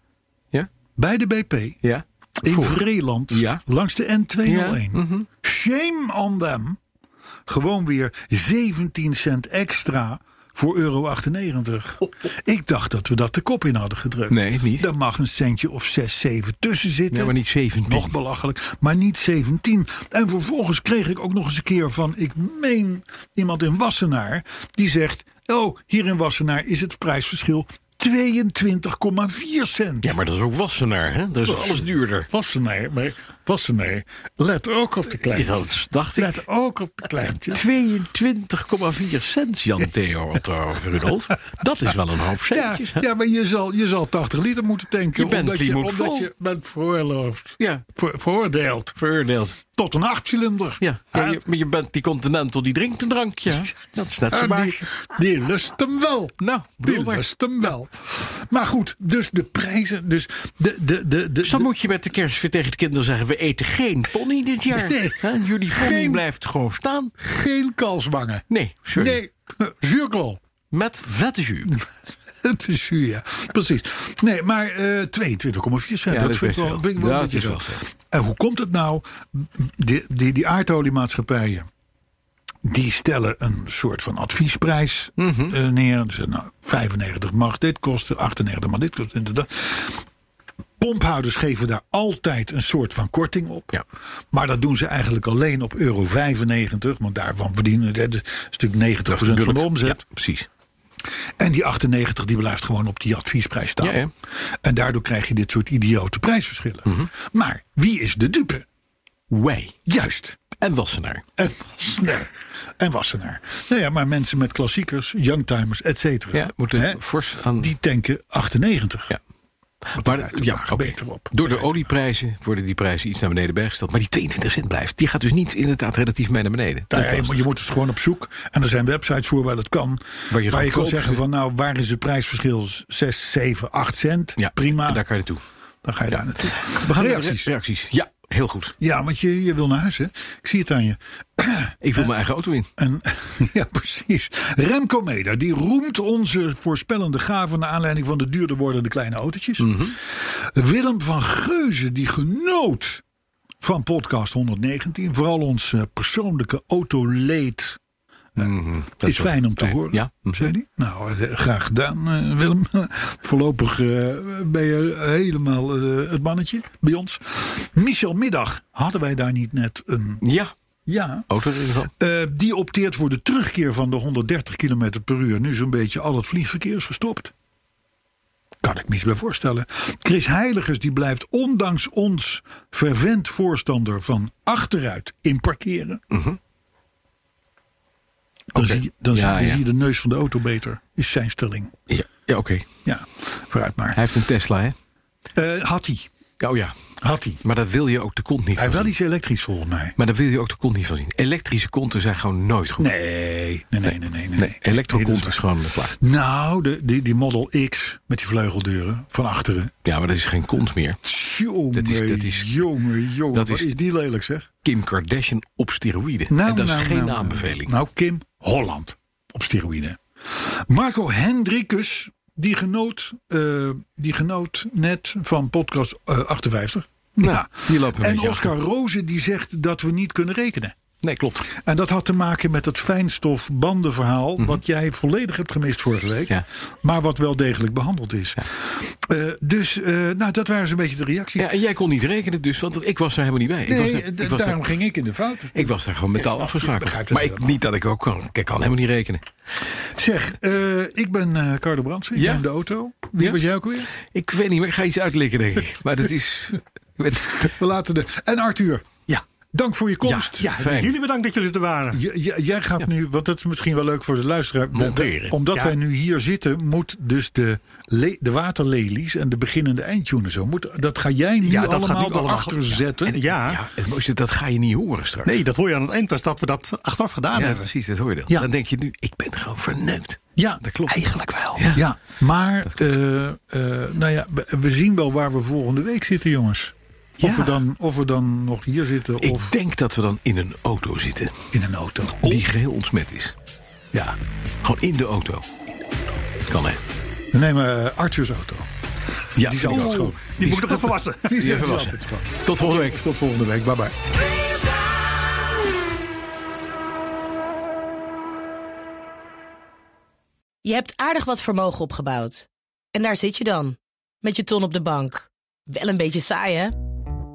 C: Ja?
D: bij de BP
C: Ja?
D: in
C: Voor.
D: Vreeland
C: Ja.
D: langs de N201.
C: Ja, mhm.
D: Shame on them. Gewoon weer 17 cent extra voor euro 98. Ik dacht dat we dat de kop in hadden gedrukt.
C: Nee, niet.
D: Daar mag een centje of 6, 7 tussen zitten.
C: Ja, maar niet 17.
D: Nog belachelijk, maar niet 17. En vervolgens kreeg ik ook nog eens een keer van, ik meen iemand in Wassenaar, die zegt: Oh, hier in Wassenaar is het prijsverschil 22,4 cent.
C: Ja, maar dat is ook Wassenaar, hè? Dat is alles duurder.
D: Wassenaar, maar Passen mee. Let ook op de kleintjes.
C: Dat dacht ik.
D: Let ook op de
C: (laughs)
D: kleintjes.
C: 22,4 cent, Jan Theo Otto Rudolf. Dat is wel een half
D: Ja,
C: centjes. hè?
D: ja, maar je zal, je zal 80 liter moeten tanken.
C: Je bent
D: omdat je,
C: klimaatvrij.
D: omdat je bent veroorloofd.
C: Ja.
D: Ver- veroordeeld.
C: Veroordeeld.
D: Tot een achtcilinder.
C: Ja, ja,
D: Hè?
C: je, maar je bent die Continental, die drinkt een drankje. hè? Dat is net zo
D: En Ah, die,
C: waar.
D: die lust hem wel.
C: Nou,
D: die
C: maar.
D: lust hem wel. Maar goed, dus de prijzen. Dus de, de, de, de,
C: Dus dan moet je met de kerst weer tegen de kinderen zeggen... we eten geen pony dit jaar.
D: Nee.
C: Hè, Jullie pony
D: Geen-
C: blijft gewoon staan.
D: geen kalswangen.
C: Nee, sorry.
D: Nee, zuurkool.
C: Met vette jus.
D: (laughs) Het is zuur, ja. Precies. Nee, maar eh 22,4 cent.
C: Ja, dat
D: dat
C: is
D: vind ik
C: best
D: wel,
C: veel.
D: vind ik wel
C: Ja,
D: een
C: dat
D: beetje
C: is
D: zo.
C: wel veel.
D: En hoe komt het nou? Die, die, die aardoliemaatschappijen... die stellen een soort van adviesprijs
C: Mhm.
D: eh, neer. Ze zeggen, nou, 95 mag dit kosten, 98 mag dit kosten. inderdaad. Pomphouders geven daar altijd een soort van korting op.
C: Ja.
D: Maar dat doen ze eigenlijk alleen op euro 95. Want daarvan verdienen dat is natuurlijk 90% van de omzet.
C: Ja, precies.
D: En die 98 die blijft gewoon op die adviesprijs staan.
C: Ja, ja. Mhm.
D: En daardoor krijg je dit soort idiote prijsverschillen. Maar wie is de dupe?
C: Wij.
D: Juist.
C: En Wassenaar.
D: En Wassenaar. En Wassenaar. Nou ja, maar mensen met klassiekers, youngtimers, et cetera.
C: Ja, moeten
D: hè,
C: fors aan-
D: Die tanken 98.
C: Ja.
D: Want daar
C: Maar
D: rijdt de
C: ja,
D: laag
C: oké.
D: beter op.
C: Door de
D: Daar rijdt
C: olieprijzen worden die prijzen iets naar beneden bijgesteld. Maar die 22 cent blijft. Die gaat dus niet inderdaad relatief mee naar beneden.
D: Nou
C: Dat
D: ja,
C: is
D: je,
C: lastig.
D: moet- je moet dus gewoon op zoek. En er zijn websites voor waar dat kan.
C: Waar je
D: kan
C: goedkoop-
D: zeggen van nou, waar is het prijsverschil? 6, 7, 8 cent.
C: ja,
D: Prima.
C: en daar kan je naartoe.
D: Dan ga je daar naartoe.
C: We gaan
D: Reacties.
C: Naar de reacties. Ja, heel goed.
D: Ja, want je, je wil naar huis, hè? Ik zie het aan je.
C: Ik voel mijn eigen auto in.
D: En, (laughs) ja, precies. Remco Meder, die roemt onze voorspellende gaven... naar aanleiding van de duurder wordende kleine autootjes.
C: Mhm.
D: Willem van Geuzen, die genoot van podcast 119. Vooral ons eh, persoonlijke autoleed eh,
C: Mhm, Dat
D: is fijn om te horen,
C: Ja. Mhm.
D: zei hij. Nou, eh, graag gedaan, eh, Willem. (laughs) Voorlopig eh, ben je helemaal eh, het mannetje bij ons. Michel Middag, hadden wij daar niet net een...
C: Ja, Oh,
D: Ja,
C: auto in ieder geval.
D: eh, die opteert voor de terugkeer van de 130 km per uur. Nu zo'n beetje al het vliegverkeer is gestopt. Kan ik me iets bij voorstellen. Chris Heiligers die blijft ondanks ons verwend voorstander van achteruit inparkeren. Dan,
C: Mhm. Oké.
D: zie, je- dan,
C: Ja,
D: zie, dan
C: ja.
D: zie je de neus van de auto beter, is zijn stelling.
C: Ja, ja oké.
D: Ja, vooruit maar.
C: Hij heeft een Tesla, hè?
D: Eh, had hij,
C: Oh ja.
D: had hij.
C: Maar daar wil je ook de kont niet
D: Hij
C: van
D: heeft wel
C: zien.
D: iets elektrisch volgens mij.
C: Maar daar wil je ook de kont niet van zien. Elektrische konten zijn gewoon nooit goed.
D: Nee, nee, nee, nee. nee, nee.
C: Nee, elektrokont
D: Nee, dat
C: is
D: waar.
C: gewoon een plaat.
D: Nou, de, die, die Model X met die vleugeldeuren van achteren.
C: Ja, maar dat is geen kont meer.
D: Jongen,
C: Dat is- dat is-
D: jongen, jongen.
C: dat
D: wat
C: is-
D: is, die lelijk zeg?
C: Kim Kardashian op steroïden.
D: Nou,
C: en dat
D: nou,
C: is geen
D: nou, nou.
C: aanbeveling.
D: Nou, Kim Holland op steroïde. Marco Hendrikus, die genoot, eh, die genoot net van podcast eh, 58.
C: Nou, die loopt een
D: en
C: beetje
D: Oscar
C: achter.
D: Roze die zegt dat we niet kunnen rekenen.
C: Nee, klopt.
D: En dat had te maken met het fijnstofbandenverhaal. Wat jij volledig hebt gemist vorige week.
C: Mhm. Ja.
D: Maar wat wel degelijk behandeld is. Eh, dus eh, nou, dat waren zo'n beetje de reacties.
C: Ja, en jij kon niet rekenen dus, want ik was daar helemaal niet bij. ik was
D: nee,
C: daar, ik
D: d-
C: was daar-
D: daarom ging ik in de fout.
C: ik was daar gewoon
D: Ik
C: metaal
D: snap, ik begrijp
C: afgeschakeld.
D: het
C: Maar ik,
D: helemaal.
C: niet dat ik ook kan. Ik kan helemaal niet rekenen.
D: Zeg, eh, ik ben eh Carlo Brandsen. Ik
C: Ja?
D: ben de auto. Wie
C: Ja?
D: was jij ook weer?
C: Ik weet niet, maar ik ga iets uitlikken, denk ik. Maar dat is... ik weet-
D: We laten de... En Arthur,
I: Ja,
D: dank voor je komst.
I: ja
C: Fijn.
I: jullie bedankt dat jullie er waren.
D: J- j- jij gaat nu, want dat is misschien wel leuk voor de luisteraar.
C: Monteren.
D: dat- Omdat
I: Ja.
D: wij nu hier zitten, moet dus de, le- de waterlelies en de beginnende eindtune zo. Moet, dat ga jij nu
I: Ja, dat gaat nu
D: allemaal
I: allemaal.
D: erachter zetten.
I: En ja,
C: Ja, het mooiste, dat ga je niet horen straks.
I: nee, dat hoor je aan het eind pas dat we dat achteraf gedaan
C: Ja,
I: hebben.
C: precies, dat hoor je dan.
D: Ja.
C: Dan denk je nu, ik ben gewoon verneukt.
D: Ja,
C: dat klopt.
I: Eigenlijk wel.
C: Ja.
D: Ja, maar eh, eh, nou ja, we- we zien wel waar we volgende week zitten, jongens. Of,
I: Ja.
D: we, dan, of we dan nog hier zitten of
C: Ik denk dat we dan in een auto zitten
D: in een auto.
C: die geheel ontsmet is.
D: Ja,
C: Gewoon in de auto. Kan hè?
D: we nemen eh, Arthur's auto.
C: Ja,
D: Die is altijd schoon.
I: Die moet ik nog even wassen.
D: Die is
C: Die even
D: altijd
C: wassen.
D: schoon.
C: Tot volgende week.
D: Tot volgende week. Bye bye.
F: Je hebt aardig wat vermogen opgebouwd. En daar zit je dan, met je ton op de bank. Wel een beetje saai, hè?